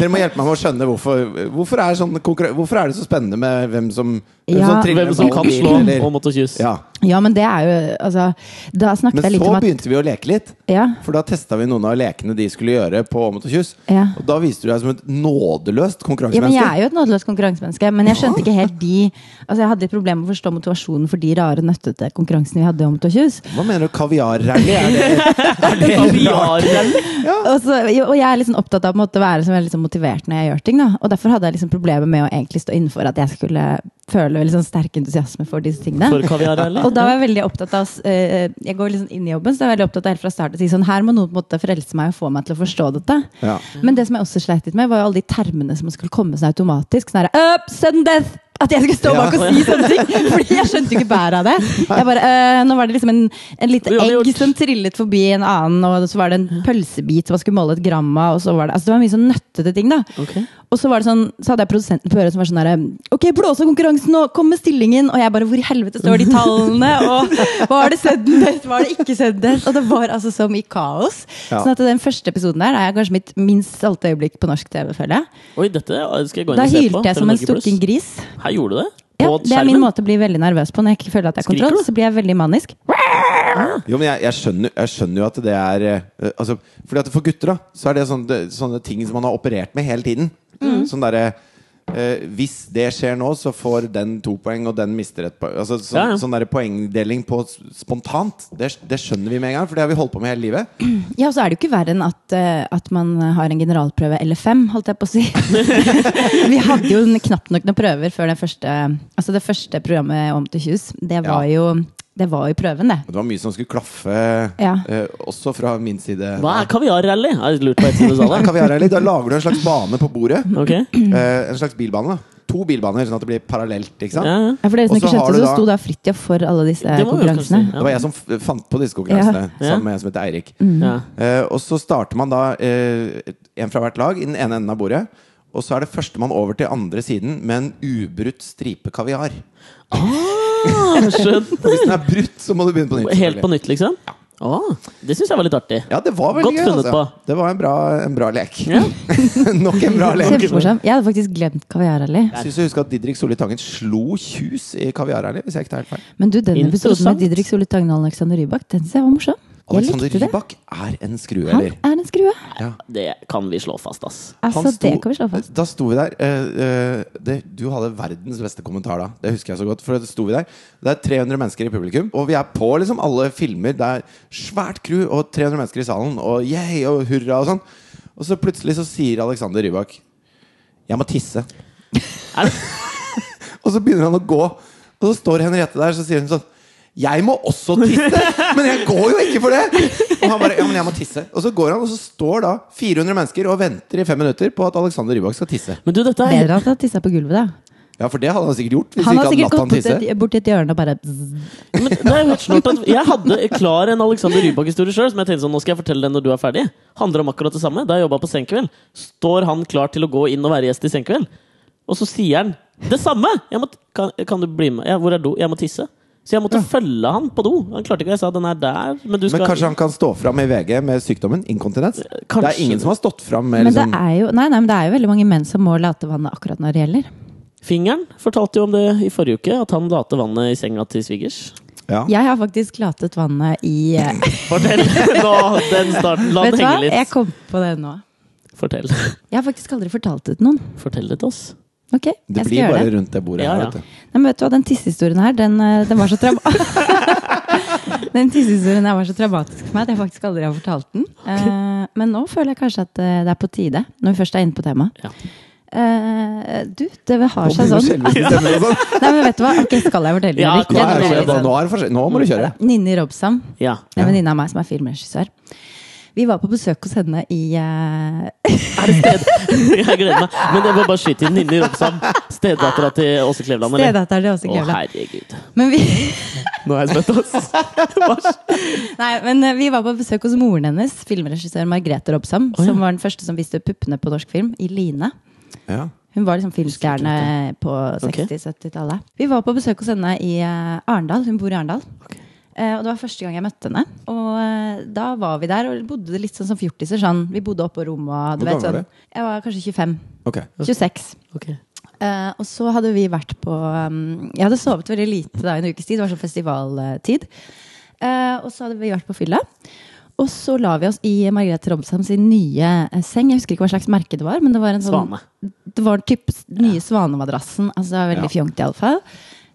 Speaker 3: dere må hjelpe meg med å skjønne hvorfor Hvorfor er, sånn konkurran- hvorfor er det så spennende med hvem som, hvem
Speaker 2: Ja.
Speaker 3: som triller
Speaker 1: Hvem som
Speaker 3: ballen
Speaker 1: kan
Speaker 3: inn,
Speaker 1: slå
Speaker 3: eller-
Speaker 1: og måtte kysse.
Speaker 3: Ja.
Speaker 2: Ja, men det er jo Altså, da snakket
Speaker 3: Men
Speaker 2: jeg litt
Speaker 3: så
Speaker 2: om at
Speaker 3: begynte vi å leke litt.
Speaker 2: Ja.
Speaker 3: For da testa vi noen av lekene de skulle gjøre på Åmot og Kjus.
Speaker 2: Ja.
Speaker 3: Og da viste du deg som et nådeløst
Speaker 2: Ja, men Jeg
Speaker 3: konkurransemenneske.
Speaker 2: er jo et nådeløst konkurransemenneske, men jeg skjønte ikke helt de Altså, jeg hadde litt problemer med å forstå motivasjonen for de rare, nøttete konkurransene vi hadde om Tåkjus.
Speaker 3: Hva mener du kaviarrally? Er det
Speaker 1: Kaviarrally.
Speaker 2: Og, så, jo, og jeg er liksom opptatt av på en måte, å være liksom veldig sånn motivert når jeg gjør ting. Da. Og derfor hadde jeg liksom problemer med å egentlig stå innenfor at jeg skulle føle veldig sånn sterk entusiasme for disse tingene.
Speaker 1: For kaviarrally.
Speaker 2: og da var jeg veldig opptatt av eh, Jeg går liksom inn i jobben, så jeg er veldig opptatt av helt fra start å si sånn Her må noen på en måte frelse meg og få meg til å forstå dette.
Speaker 3: Ja.
Speaker 2: Men det som jeg også sleit litt med, var jo alle de termene som skulle komme seg automatisk. Sånn her, Up, sudden death! At jeg skulle stå
Speaker 3: Ja.
Speaker 2: bak og si sånne ting! Fordi jeg skjønte jo ikke bæret av det. Jeg bare, eh, nå var det liksom en, en lite
Speaker 1: Uavgjort.
Speaker 2: egg som trillet forbi en annen, og så var det en pølsebit som man skulle måle et gram av. Og så var det, altså det var mye sånn nøttete ting. da
Speaker 1: Ok.
Speaker 2: Og så var det sånn, så hadde jeg produsenten på øret som var sånn der Ok, blås av konkurransen nå! Kom med stillingen! Og jeg bare Hvor i helvete står de tallene? Og var det sudden death? Var det ikke sudden death? Og det var altså som i kaos.
Speaker 3: Ja.
Speaker 2: Sånn at den første episoden der er kanskje mitt minst stolte øyeblikk på norsk TV, føler jeg.
Speaker 1: Oi, dette skal jeg gå inn
Speaker 2: Da
Speaker 1: og se på.
Speaker 2: hylte jeg som en
Speaker 1: TV Norge Plus.
Speaker 2: stukken gris.
Speaker 1: Her gjorde du det?
Speaker 2: Ja,
Speaker 1: På
Speaker 2: det er min
Speaker 1: skjermen?
Speaker 2: måte å bli veldig nervøs på når jeg ikke føler at jeg har
Speaker 1: Skriker du?
Speaker 2: kontroll. Så blir jeg veldig manisk.
Speaker 3: Jo, men jeg, jeg, skjønner, jeg skjønner jo at det er eh, altså, Fordi at For gutter da Så er det sånne, det- sånne ting som man har operert med hele tiden.
Speaker 1: Mm.
Speaker 3: Sånn derre eh, Hvis det skjer nå, så får den to poeng, og den mister et poeng. Altså, sånn
Speaker 1: Ja, ja.
Speaker 3: sånn derre poengdeling på s- spontant, det, det skjønner vi med en gang. For det har vi holdt på med hele livet.
Speaker 2: Ja, og så er det jo ikke verre enn at, eh, at man har en generalprøve eller fem, holdt jeg på å si. Vi hadde jo n- knapt nok noen prøver før det første, altså det første programmet om til Kjus. Det var,
Speaker 3: Ja.
Speaker 2: jo, det var jo prøven, det.
Speaker 3: Det var mye som skulle klaffe,
Speaker 2: Ja.
Speaker 3: eh, også fra min side.
Speaker 1: Hva er kaviarrally? Jeg har lurt på et side
Speaker 3: Ja,
Speaker 1: salen.
Speaker 3: kaviarrally, Da lager du en slags bane på bordet.
Speaker 1: Ok.
Speaker 3: Eh, en slags bilbane. da. To bilbaner, sånn at det blir parallelt. Ikke sant?
Speaker 1: Ja, ja.
Speaker 2: Ja, for dere som
Speaker 3: Og så
Speaker 2: ikke
Speaker 3: har
Speaker 2: skjønte, så
Speaker 3: du da-
Speaker 2: sto da Fridtjof for alle disse
Speaker 1: Det må vi jo
Speaker 2: konkurransene.
Speaker 1: kanskje si,
Speaker 3: Det var jeg som f fant på disse konkurransene,
Speaker 1: Ja. Mm.
Speaker 3: sammen med en som heter Eirik.
Speaker 1: Ja.
Speaker 3: Eh, og så starter man da eh, en fra hvert lag i den ene enden av bordet. Og så er det førstemann over til andre siden med en ubrutt stripe kaviar.
Speaker 2: Mm.
Speaker 1: Ah, skjønt.
Speaker 3: Og hvis den er brutt, så må du begynne på nytt.
Speaker 1: Helt på
Speaker 3: selvfølgelig.
Speaker 1: nytt, liksom? Ah, det syns jeg var litt artig.
Speaker 3: Ja, det var veldig
Speaker 1: Godt
Speaker 3: gøy.
Speaker 1: funnet
Speaker 3: Altså.
Speaker 1: på.
Speaker 3: Det var en bra, en bra lek.
Speaker 1: Ja.
Speaker 3: Nok en bra lek.
Speaker 2: Kjempemorsom. Jeg hadde faktisk glemt kaviarrally.
Speaker 3: Jeg syns jeg husker at Didrik Solli Tangen slo Kjus i kaviarærlig, hvis jeg ikke tar helt feil.
Speaker 2: Men du, den episoden
Speaker 1: Interessant.
Speaker 2: med Didrik Solli Tangen og Alexander Rybak, den synes jeg var morsom. Jeg
Speaker 3: Alexander
Speaker 2: likte det.
Speaker 3: Rybak er en
Speaker 2: Han
Speaker 3: skrueheller.
Speaker 2: er en skrue.
Speaker 1: Det kan vi slå fast, ass.
Speaker 2: Altså, det kan vi slå fast.
Speaker 3: Da sto vi der eh, eh, det, Du hadde verdens beste kommentar da. Det husker jeg så godt. For det sto vi der Det er 300 mennesker i publikum, og vi er på liksom alle filmer. Det er svært crew og 300 mennesker i salen, og yay og hurra og sånn. Og så plutselig så sier Alexander Rybak 'Jeg må tisse'.
Speaker 1: Er
Speaker 3: og så begynner han å gå, og så står Henriette der, så sier hun sånn jeg må også tisse, men jeg går jo ikke for det! Og han bare, ja, men jeg må tisse Og så går han, og så står da 400 mennesker og venter i fem minutter på at Alexander Rybak skal tisse.
Speaker 1: Men du, dette er
Speaker 2: Bedre at han tissa på gulvet, da.
Speaker 3: Ja, for det hadde han sikkert gjort. Hvis
Speaker 2: Han
Speaker 3: vi
Speaker 2: har
Speaker 3: ikke
Speaker 2: sikkert gått
Speaker 3: hadde latt han
Speaker 2: bort
Speaker 3: tisse.
Speaker 2: til et- bort til et hjørne og bare
Speaker 1: men, det er jo helt snort at Jeg hadde klar en Alexander Rybak-historie sjøl, som jeg tenkte sånn, nå skal jeg fortelle den når du er ferdig. Handler om akkurat det samme. Da jeg jobba på Senkveld, står han klar til å gå inn og være gjest i Senkveld. Og så sier han det samme! Jeg må, kan, kan du bli med? Ja, hvor er do? Jeg må tisse. Så jeg måtte følge han på do. Han klarte ikke, jeg sa den er der. Men du skal
Speaker 3: Men kanskje han kan stå fram i VG med sykdommen inkontinens? Det
Speaker 1: Kanskje.
Speaker 3: er ingen som har stått fram med
Speaker 2: Eh, Men det
Speaker 3: liksom,
Speaker 2: er jo, nei, nei, men det er jo veldig mange menn som må late vannet akkurat når det gjelder.
Speaker 1: Fingeren fortalte jo om det i forrige uke, at han later vannet i senga til svigers.
Speaker 3: ja.
Speaker 2: Jeg har faktisk latet vannet i eh,
Speaker 1: Fortell! Nå, den starten. La
Speaker 2: Vet
Speaker 1: den
Speaker 2: du hva?
Speaker 1: henge
Speaker 2: Jeg
Speaker 1: litt.
Speaker 2: kom på det nå.
Speaker 1: Fortell.
Speaker 2: Jeg har faktisk aldri fortalt det til noen.
Speaker 1: Fortell det til oss.
Speaker 2: Ok,
Speaker 3: Det
Speaker 2: jeg skal
Speaker 3: blir
Speaker 2: gjøre
Speaker 3: bare
Speaker 2: det.
Speaker 3: rundt det bordet
Speaker 1: Ja,
Speaker 3: her.
Speaker 1: ja.
Speaker 3: Vet du.
Speaker 2: Nei, men vet du hva, Den tissehistorien her, den, eh, den var så traum... den tissehistorien her var så traumatisk for meg at jeg faktisk aldri har fortalt den. Eh, men nå føler jeg kanskje at eh, det er på tide, når vi først er inne på temaet.
Speaker 1: Ja.
Speaker 2: Eh, du, det har
Speaker 3: Nå
Speaker 2: seg
Speaker 3: blir
Speaker 2: sånn.
Speaker 3: det skjelven i stemmen og sånn.
Speaker 2: Nei, men vet du hva? Ok, skal jeg fortelle det?
Speaker 1: Ja,
Speaker 2: eller ikke?
Speaker 3: Nå
Speaker 1: Ja,
Speaker 2: Den
Speaker 3: er
Speaker 2: er
Speaker 3: det forskjell-
Speaker 2: litt sånn-
Speaker 3: nå er det forskjell. Nå må du kjøre.
Speaker 2: Ninni Robsam,
Speaker 1: Ja.
Speaker 2: en venninne av meg som er filmregissør. Vi var på besøk hos henne i eh,
Speaker 1: Er det sted? Jeg gleder meg. Men jeg må bare skyte inn Ninni Robsam, stedattera til Åse Kleveland. eller?
Speaker 2: Stedatteren til Åse
Speaker 1: Å,
Speaker 2: Kleveland.
Speaker 1: herregud.
Speaker 2: Men vi
Speaker 1: Nå er jeg spent, ass.
Speaker 2: Nei, men eh, Vi var på besøk hos moren hennes, filmregissør Margrethe Robsam. Som var den første som viste puppene på norsk film, i Line.
Speaker 3: Ja.
Speaker 2: Hun var liksom filmstjerne på
Speaker 1: Ok.
Speaker 2: 60-70-tallet. Vi var på besøk hos henne i eh, Arendal. Hun bor i Arendal. Eh, og Det var første gang jeg møtte henne. Og eh, Da var vi der og bodde litt sånn som fjortiser. Sånn. Vi bodde oppå rommet. og du
Speaker 3: Hvor
Speaker 2: vet,
Speaker 3: gammel var
Speaker 2: sånn. Jeg var kanskje 25.
Speaker 3: Ok.
Speaker 2: 26.
Speaker 1: Ok.
Speaker 2: Eh, og så hadde vi vært på um, Jeg hadde sovet veldig lite da, en ukes tid. Det var sånn festivaltid. Eh, og så hadde vi vært på fylla. Og så la vi oss i Margrethe Robsam sin nye eh, seng. Jeg husker ikke hva slags merke det var. Men det var en sånn,
Speaker 1: Svane.
Speaker 2: Det var typ s- nye svanemadrassen. Altså det var veldig fjongt, iallfall.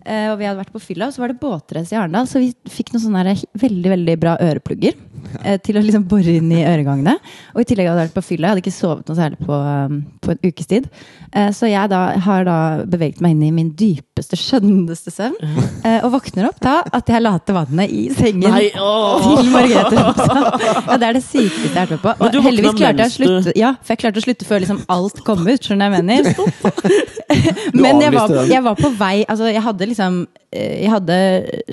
Speaker 2: Uh, og vi hadde vært på fylla, og så var det båtrace i Arendal. Så vi fikk noen sånne her veldig veldig bra øreplugger eh, til å liksom bore inn i øregangene. Og i tillegg hadde jeg vært på fylla. Jeg hadde ikke sovet noe særlig på, um, på en ukes tid. Eh, så jeg da, har da beveget meg inn i min dypeste, skjønneste søvn. eh, og våkner opp da at jeg later vannet i sengen
Speaker 1: Nei, åh.
Speaker 2: til Margrethe Romsdal. Ja, det er det sykeste jeg har vært med på.
Speaker 1: Men
Speaker 2: Og
Speaker 1: du våkna
Speaker 2: heldigvis klarte jeg å
Speaker 1: mens du-
Speaker 2: slutte Ja, for jeg klarte å slutte før liksom alt kom ut. Skjønner du hva jeg mener?
Speaker 3: Du
Speaker 2: Men jeg var,
Speaker 3: avlyste den.
Speaker 2: jeg var på vei Altså, jeg hadde liksom eh, Jeg hadde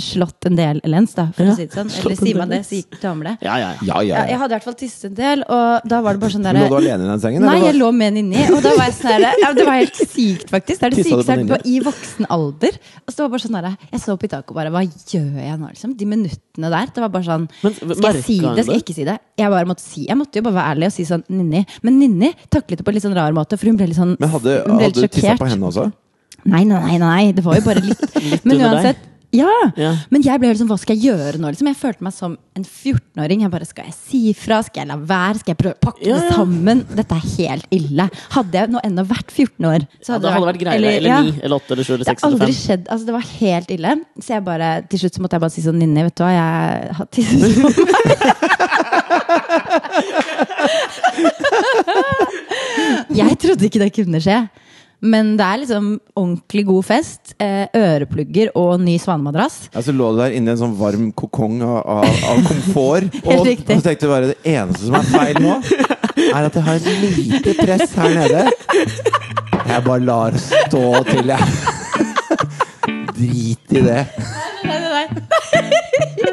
Speaker 2: slått en del lens, da, for
Speaker 1: Ja,
Speaker 2: å si det sånn.
Speaker 1: slått
Speaker 2: Eller
Speaker 1: en
Speaker 2: sier man
Speaker 1: del
Speaker 2: det, sier damer det.
Speaker 1: Ja, ja, ja.
Speaker 3: Ja,
Speaker 2: Ja,
Speaker 3: ja,
Speaker 2: jeg
Speaker 3: ja.
Speaker 2: hadde i hvert fall tisset en del, og da var det bare sånn
Speaker 3: Lå du
Speaker 2: derre
Speaker 3: alene i den sengen?
Speaker 2: Nei,
Speaker 3: eller
Speaker 2: jeg
Speaker 3: hva?
Speaker 2: lå med Ninni, og da var jeg sånn herre ja, Det var helt sykt, faktisk. Det er det
Speaker 3: Tisset du på
Speaker 2: sykeste jeg har vært
Speaker 3: Ninni?
Speaker 2: på i voksen alder. Og så var det bare sånn herre Jeg så på i taket og bare Hva gjør jeg nå, liksom? De minuttene der. Det var bare sånn
Speaker 1: Men
Speaker 2: Skal jeg
Speaker 1: merket han
Speaker 2: si det, skal jeg
Speaker 1: det?
Speaker 2: ikke si det? Jeg bare måtte si Jeg måtte jo bare være ærlig og si sånn Ninni. Men Ninni taklet det på en litt sånn rar måte, for hun ble litt sånn
Speaker 3: Men hadde,
Speaker 2: hun ble litt
Speaker 3: hadde du tissa
Speaker 2: sjokkert.
Speaker 3: på henne også?
Speaker 2: Nei, nei, nei, nei. Det var jo bare litt.
Speaker 1: under
Speaker 2: Men
Speaker 1: deg?
Speaker 2: uansett. Ja.
Speaker 1: Ja.
Speaker 2: Men jeg ble jo liksom, hva skal jeg gjøre nå? Liksom? Jeg følte meg som en 14-åring. Jeg bare, Skal jeg si fra? Skal jeg la være? Skal jeg prøve å pakke
Speaker 1: Ja,
Speaker 2: det
Speaker 1: ja.
Speaker 2: sammen? Dette er helt ille. Hadde jeg nå ennå vært 14 år så
Speaker 1: Ja, det hadde vært greiere. Eller,
Speaker 2: ja.
Speaker 1: 9, eller 8, eller 7, eller
Speaker 2: Det
Speaker 1: 6,
Speaker 2: har
Speaker 1: eller
Speaker 2: aldri
Speaker 1: 5.
Speaker 2: skjedd. Altså, det var helt ille. Så jeg bare, til slutt så måtte jeg bare si sånn Ninni, vet du hva, jeg har tisset på meg. jeg trodde ikke det kunne skje. Men det er liksom ordentlig god fest. Eh, øreplugger og ny svanemadrass.
Speaker 3: Ja, så lå du der inne i en sånn varm kokong av, av, av komfort.
Speaker 2: Helt
Speaker 3: og, og
Speaker 2: riktig.
Speaker 3: så tenkte du bare det eneste som er feil nå, er at jeg har lite press her nede. Jeg bare lar stå til, jeg. Drit i det.
Speaker 2: Nei, nei, nei.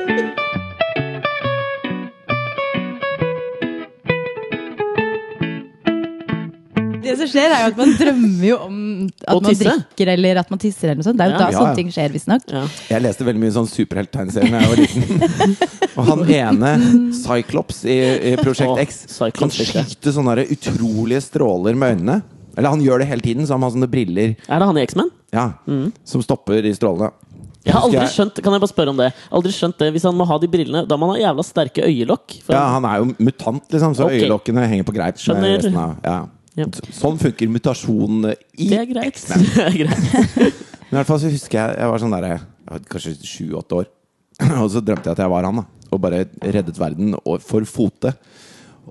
Speaker 2: Det som skjer, er jo at man drømmer jo om
Speaker 1: Å
Speaker 2: at man
Speaker 1: tisse.
Speaker 2: drikker eller at man tisser. eller noe sånt. Det er jo
Speaker 1: Ja.
Speaker 2: da
Speaker 3: Ja, ja.
Speaker 2: sånne ting skjer, visstnok.
Speaker 1: Ja.
Speaker 3: Jeg leste veldig mye sånn superhelttegneserier da jeg var liten. Og han ene, Cyclops i, i Prosjekt
Speaker 1: Å,
Speaker 3: X, kan
Speaker 1: Cyclops, ikke.
Speaker 3: skyte sånne der utrolige stråler med øynene. Eller han gjør det hele tiden, så han har sånne briller
Speaker 1: Er det han i X-Men?
Speaker 3: ja, som stopper de
Speaker 1: Mm.
Speaker 3: strålene.
Speaker 1: Jeg har aldri
Speaker 3: Husker jeg-
Speaker 1: skjønt kan jeg bare spørre om det Aldri skjønt det Hvis han må ha de brillene, da må han ha jævla sterke øyelokk. For
Speaker 3: Ja, han er jo mutant, liksom, så
Speaker 1: Ok.
Speaker 3: øyelokkene henger på greip. med
Speaker 1: Skjønner.
Speaker 3: resten av- Ja.
Speaker 1: Ja.
Speaker 3: Så- Sånn funker mutasjon i
Speaker 1: det er greit. Det er greit.
Speaker 3: Men i hvert fall så husker jeg jeg var sånn der, jeg var kanskje sju-åtte år. Og så drømte jeg at jeg var han, da. Og bare reddet verden og- for fote.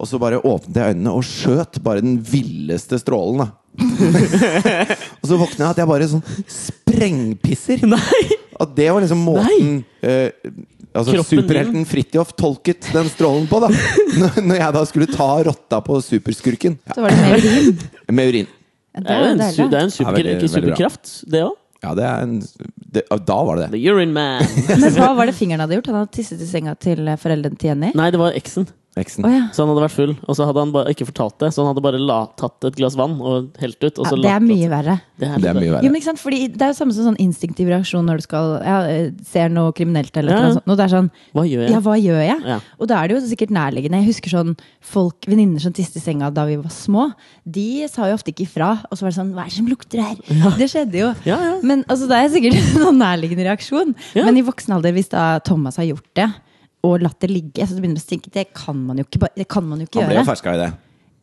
Speaker 3: Og så bare åpnet jeg øynene og skjøt bare den villeste strålen, da. og så våkna jeg at jeg bare sånn sprengpisser.
Speaker 1: Nei!
Speaker 3: At det var liksom måten eh, altså
Speaker 1: Kroppen
Speaker 3: Superhelten Fridtjof tolket den strålen på, da. Når, når jeg da skulle ta rotta på superskurken. Ja,
Speaker 2: Så var det mer urin.
Speaker 3: med urin.
Speaker 1: Det er jo en, su- det er en super,
Speaker 3: Ja, veldig-
Speaker 1: ikke
Speaker 3: veldig bra.
Speaker 1: superkraft, det òg.
Speaker 3: Ja, det er en det, ja, Da var det det.
Speaker 1: The urine man.
Speaker 2: Men hva var det fingeren hadde gjort? Han hadde tisset i senga til eh, foreldrene til Jenny.
Speaker 1: Nei, det var eksen.
Speaker 3: Eksen.
Speaker 2: Å ja.
Speaker 1: Så han hadde vært full, og så hadde han ba, ikke fortalt det. Så han hadde bare la, tatt et glass vann og helt ut. Og
Speaker 2: ja.
Speaker 1: så
Speaker 2: Det er
Speaker 1: latt-
Speaker 2: mye verre.
Speaker 1: Det er,
Speaker 3: Det er mye
Speaker 2: Jo,
Speaker 3: verre.
Speaker 2: men ikke sant? Fordi det er jo samme som sånn instinktiv reaksjon når du skal ja, eh, ser noe kriminelt. eller
Speaker 1: Ja,
Speaker 2: noe
Speaker 1: ja.
Speaker 2: sånt. Når det er sånn
Speaker 1: Hva gjør jeg?
Speaker 2: Ja, hva gjør jeg?
Speaker 1: Ja.
Speaker 2: Og da er det jo sikkert nærliggende. Jeg husker sånn folk, venninner som tiste i senga da vi var små. De sa jo ofte ikke ifra. Og så var det sånn Hva er det som lukter her? Det skjedde jo.
Speaker 1: Ja, ja.
Speaker 2: Men altså, det er sikkert noen nærliggende reaksjon.
Speaker 1: Ja.
Speaker 2: Men i voksen alder, hvis da Thomas har gjort det, og latt det ligge, så begynner du å tenke det kan man jo ikke, ba- det kan man jo ikke
Speaker 3: Han ble jo
Speaker 2: gjøre.
Speaker 3: ferska i det.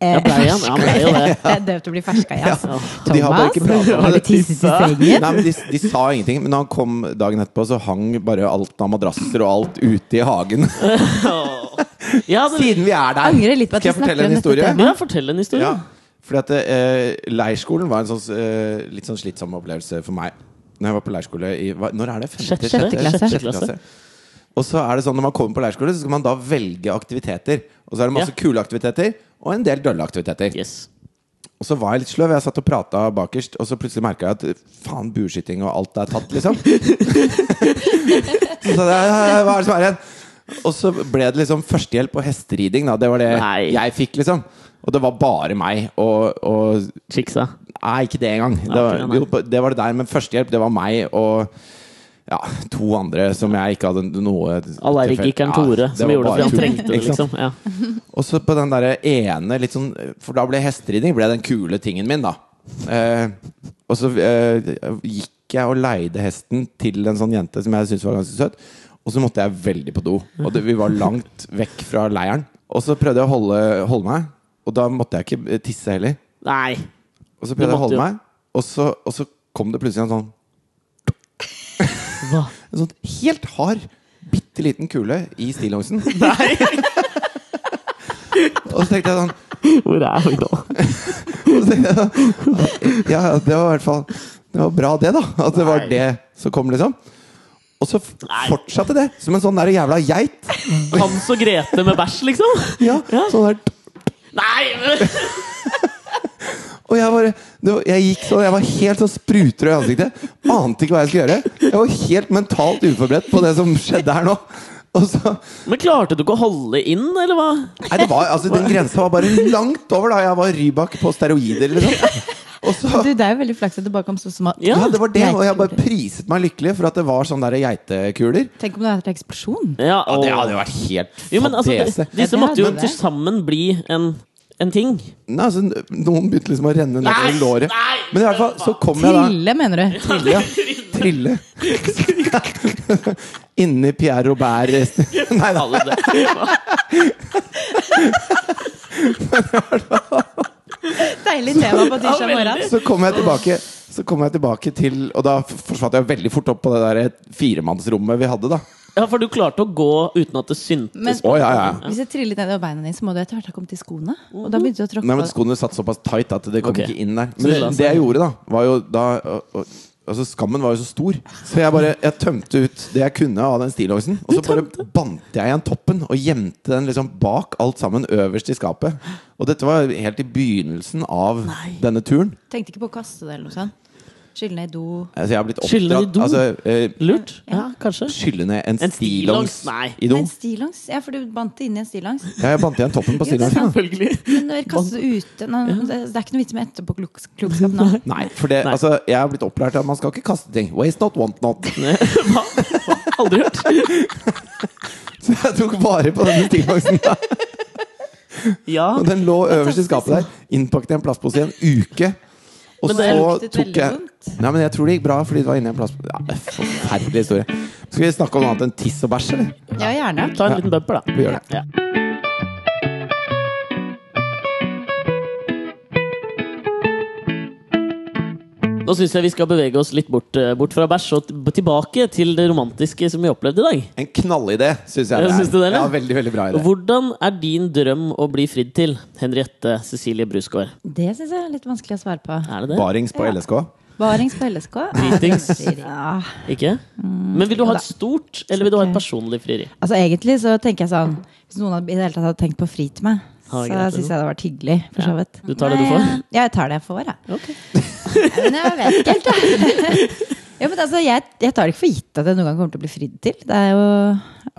Speaker 1: Ja, ble han? Ja, han ble jo det.
Speaker 2: Det er døvt å bli ferska i, altså.
Speaker 3: Og de har bare ikke
Speaker 2: Thomas,
Speaker 3: pratet om
Speaker 2: har du
Speaker 3: det.
Speaker 2: tisset i
Speaker 3: Nei,
Speaker 2: sengen?
Speaker 3: men de, de sa ingenting, men da han kom dagen etterpå, så hang bare alt av madrasser og alt ute i hagen.
Speaker 1: Ja, det,
Speaker 3: Siden vi er der!
Speaker 2: Angrer litt på at
Speaker 3: Skal jeg
Speaker 2: vi snakker
Speaker 3: fortelle
Speaker 2: om
Speaker 3: en
Speaker 2: dette
Speaker 3: historie?
Speaker 2: temaet.
Speaker 1: ja, fortell en historie.
Speaker 3: Ja, fordi at eh, leirskolen var en sånn, eh, litt sånn slitsom opplevelse for meg. Når jeg var på leirskole i hva, Når er det? Femte,
Speaker 1: Sjette,
Speaker 3: sjette?
Speaker 1: sjette klasse.
Speaker 3: Sjette Og så er det sånn når man kommer på leirskole, så skal man da velge aktiviteter. Og så er det masse
Speaker 1: Ja.
Speaker 3: kule aktiviteter og en del dølle aktiviteter.
Speaker 1: Yes.
Speaker 3: Og så var jeg litt sløv. Jeg satt og prata bakerst, og så plutselig merka jeg at faen, bueskyting og alt er tatt, liksom. så det, hva er det som er igjen? Og så ble det liksom førstehjelp og hesteriding, da. Det var det
Speaker 1: Nei.
Speaker 3: jeg fikk, liksom. Og det var bare meg og, og
Speaker 1: Chicksa.
Speaker 3: Nei, ikke det engang. Det
Speaker 1: ikke
Speaker 3: var,
Speaker 1: det, nei.
Speaker 3: jo, på- det var det der, men førstehjelp, det var meg og ja, to andre som jeg ikke hadde noe
Speaker 1: Allergikeren
Speaker 3: Ja,
Speaker 1: Tore,
Speaker 3: det
Speaker 1: som
Speaker 3: var
Speaker 1: gjorde det
Speaker 3: bare
Speaker 1: fordi han
Speaker 3: Tore,
Speaker 1: trengte det,
Speaker 3: ikke sant?
Speaker 1: liksom. Ja.
Speaker 3: Og så på den derre ene litt sånn, For da ble hesteridning ble den kule tingen min, da. Eh, og så eh, gikk jeg og leide hesten til en sånn jente som jeg syntes var ganske søt. Og så måtte jeg veldig på do. Og det, vi var langt vekk fra leiren. Og så prøvde jeg å holde, holde meg, og da måtte jeg ikke eh, tisse heller.
Speaker 1: Nei.
Speaker 3: Og så
Speaker 1: Du
Speaker 3: prøvde jeg å
Speaker 1: måtte
Speaker 3: holde
Speaker 1: jo.
Speaker 3: meg, og så, og så kom det plutselig en sånn
Speaker 1: Hva?
Speaker 3: En sånn helt hard, bitte liten kule i stillongsen. og så tenkte jeg sånn
Speaker 1: Hvor er vi nå?
Speaker 3: Og så tenkte jeg sånn, Ja, ja, det var i hvert fall Det var bra det, da. At det var
Speaker 1: Nei.
Speaker 3: det som kom, liksom. Og så f- fortsatte det, som en sånn der jævla geit.
Speaker 1: Hans og Grete med bæsj, liksom?
Speaker 3: Ja, sånn der
Speaker 1: Nei! men-
Speaker 3: Og jeg bare det var, Jeg gikk sånn Jeg var helt sånn sprutrød i ansiktet. Ante ikke hva jeg skulle gjøre. Jeg var helt mentalt uforberedt på det som skjedde her nå. Og så
Speaker 1: Men klarte du ikke å holde inn, eller hva?
Speaker 3: Nei, det var Altså, den grensa var bare langt over, da. Jeg var Rybak på steroider, liksom. Og så
Speaker 2: Du, det er jo veldig flaks at det bare kom så smått.
Speaker 1: Ja,
Speaker 3: Ja, det var det. Og jeg bare
Speaker 2: Geitekuler.
Speaker 3: priset meg lykkelig for at det var sånne der geitekuler.
Speaker 2: Tenk om det hadde vært eksplosjon?
Speaker 1: Ja,
Speaker 3: Ja, det
Speaker 1: og-
Speaker 3: hadde jo vært helt
Speaker 1: jo, men altså,
Speaker 3: fadese.
Speaker 1: de- Disse
Speaker 2: Ja, det
Speaker 1: måtte jo
Speaker 2: hadde det.
Speaker 1: til sammen bli en, en ting.
Speaker 3: Nei, altså, noen begynte liksom å renne nedover
Speaker 1: Nei,
Speaker 3: låret.
Speaker 1: nei,
Speaker 3: Men i hvert fall så kom jeg da
Speaker 2: Trille, mener du?
Speaker 3: Trille, ja. Trille. Inni Pierre Robert Nei da.
Speaker 1: Alle det.
Speaker 2: Deilig tema på
Speaker 1: Ja,
Speaker 2: tirsdag
Speaker 1: veldig.
Speaker 2: morgen.
Speaker 3: Så kom jeg tilbake Så kom jeg tilbake til Og da f- forsvant jeg veldig fort opp på det der eh, firemannsrommet vi hadde, da.
Speaker 1: Ja, for du klarte å gå uten at det syntes.
Speaker 2: Men
Speaker 3: Å, ja, ja.
Speaker 2: hvis jeg triller nedover beina dine, så må du etter hvert ha kommet til skoene. Og da begynte du å tråkke
Speaker 3: Nei, men
Speaker 2: på
Speaker 3: skoene satt såpass tight at det kom
Speaker 1: Ok.
Speaker 3: ikke inn der.
Speaker 1: Så det la
Speaker 3: Men
Speaker 1: seg.
Speaker 3: det jeg gjorde, da, var jo da og, og, Altså Skammen var jo så stor, så jeg bare jeg tømte ut det jeg kunne av den stillongsen. Og så bare bandt jeg igjen toppen og gjemte den liksom bak alt sammen øverst i skapet. Og dette var helt i begynnelsen av denne turen.
Speaker 2: Tenkte ikke på å kaste det eller noe sånt. Skylle ned i do.
Speaker 3: Altså jeg har blitt
Speaker 1: Skylle i
Speaker 3: oppdratt
Speaker 1: do?
Speaker 3: Altså eh,
Speaker 1: Lurt? Ja, kanskje.
Speaker 3: skylle ned en,
Speaker 1: En stillongs?
Speaker 3: stillongs
Speaker 1: Nei.
Speaker 3: i do.
Speaker 2: Men stillongs? Ja, for du bandt det inn i en stillongs.
Speaker 3: Ja, jeg bandt igjen toppen på
Speaker 2: Jo, det er
Speaker 3: stillongsen.
Speaker 2: sant.
Speaker 1: Selvfølgelig.
Speaker 2: Men når jeg kaster det ute nei, det, det er ikke noe vits med etterpåklokskap nå.
Speaker 3: Nei, for det,
Speaker 1: Nei.
Speaker 3: altså, jeg har blitt opplært at man skal ikke kaste ting. Waste not, want not.
Speaker 1: Hva? Aldri hørt.
Speaker 3: Så jeg tok vare på denne stillongsen. da
Speaker 1: Ja.
Speaker 3: Og den lå øverst i skapet der, innpakket i en plastpose i en uke. Og
Speaker 1: Men det
Speaker 3: så
Speaker 2: luktet
Speaker 3: tok
Speaker 2: veldig
Speaker 3: jeg
Speaker 2: vondt.
Speaker 3: Nei, men jeg tror det gikk bra, fordi det var inni en plastpose. Ja, det er forferdelig historie. Skal vi snakke om noe annet enn tiss og bæsj, eller?
Speaker 2: Ja, gjerne.
Speaker 1: Ta en liten bumper, da.
Speaker 3: Vi gjør det.
Speaker 1: Ja. Nå syns jeg vi skal bevege oss litt bort, eh, bort fra bæsj og t- tilbake til det romantiske som vi opplevde i dag.
Speaker 3: En knallidé, syns jeg.
Speaker 1: Ja, synes du det, eller?
Speaker 3: ja, veldig, veldig bra idé.
Speaker 1: Hvordan er din drøm å bli fridd til, Henriette Cecilie Brusgaard?
Speaker 2: Det syns jeg er litt vanskelig å svare på.
Speaker 1: Er det det?
Speaker 3: Barings på LSK.
Speaker 2: Barings på LSK?
Speaker 1: Dritings.
Speaker 2: Ja.
Speaker 1: Ikke? Men vil du ha et stort, eller vil du ha et
Speaker 2: Mm. Ok.
Speaker 1: personlig frieri?
Speaker 2: Altså Egentlig så tenker jeg sånn Hvis noen hadde, i det hele tatt hadde tenkt på å fri til meg,
Speaker 1: Ha
Speaker 2: så
Speaker 1: det greit,
Speaker 2: syns jeg det hadde vært hyggelig. For så
Speaker 1: Ja.
Speaker 2: vidt.
Speaker 1: Du tar det du
Speaker 2: Nei,
Speaker 1: får?
Speaker 2: jeg- Ja, jeg tar det jeg får, jeg. Men jeg vet ikke helt, jeg. Ja, men altså, jeg, jeg tar det ikke for gitt at jeg noen gang kommer til å bli fridd til. Det er jo,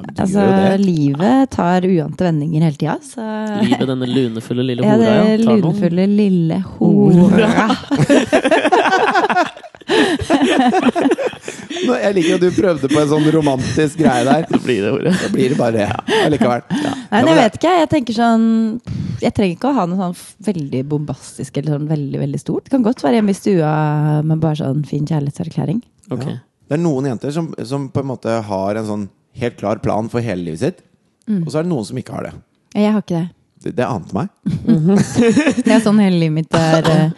Speaker 3: men du
Speaker 2: altså,
Speaker 3: gjør jo det.
Speaker 2: Livet tar uante vendinger hele tida, så
Speaker 1: Livet, denne lunefulle lille
Speaker 2: ja,
Speaker 1: hora.
Speaker 2: det
Speaker 1: ja, tar noen.
Speaker 2: lunefulle lille hora.
Speaker 3: Nå, Jeg liker at du prøvde på en sånn romantisk greie der.
Speaker 1: Så blir det ordet.
Speaker 3: Da blir det bare det allikevel.
Speaker 2: Nei,
Speaker 3: Ja,
Speaker 2: men
Speaker 3: men
Speaker 2: jeg
Speaker 3: det-
Speaker 2: vet ikke. Jeg tenker sånn Jeg trenger ikke å ha noe sånn f- veldig bombastisk eller sånn veldig veldig stort. Det kan godt være hjemme i stua med bare sånn fin kjærlighetserklæring.
Speaker 1: Ok.
Speaker 3: Ja. Det er noen jenter som, som på en måte har en sånn helt klar plan for hele livet sitt.
Speaker 1: Mm.
Speaker 3: Og så er det noen som ikke har det.
Speaker 2: Ja, Jeg har ikke det.
Speaker 3: Det, det ante meg.
Speaker 2: Det er sånn hele livet mitt er eh,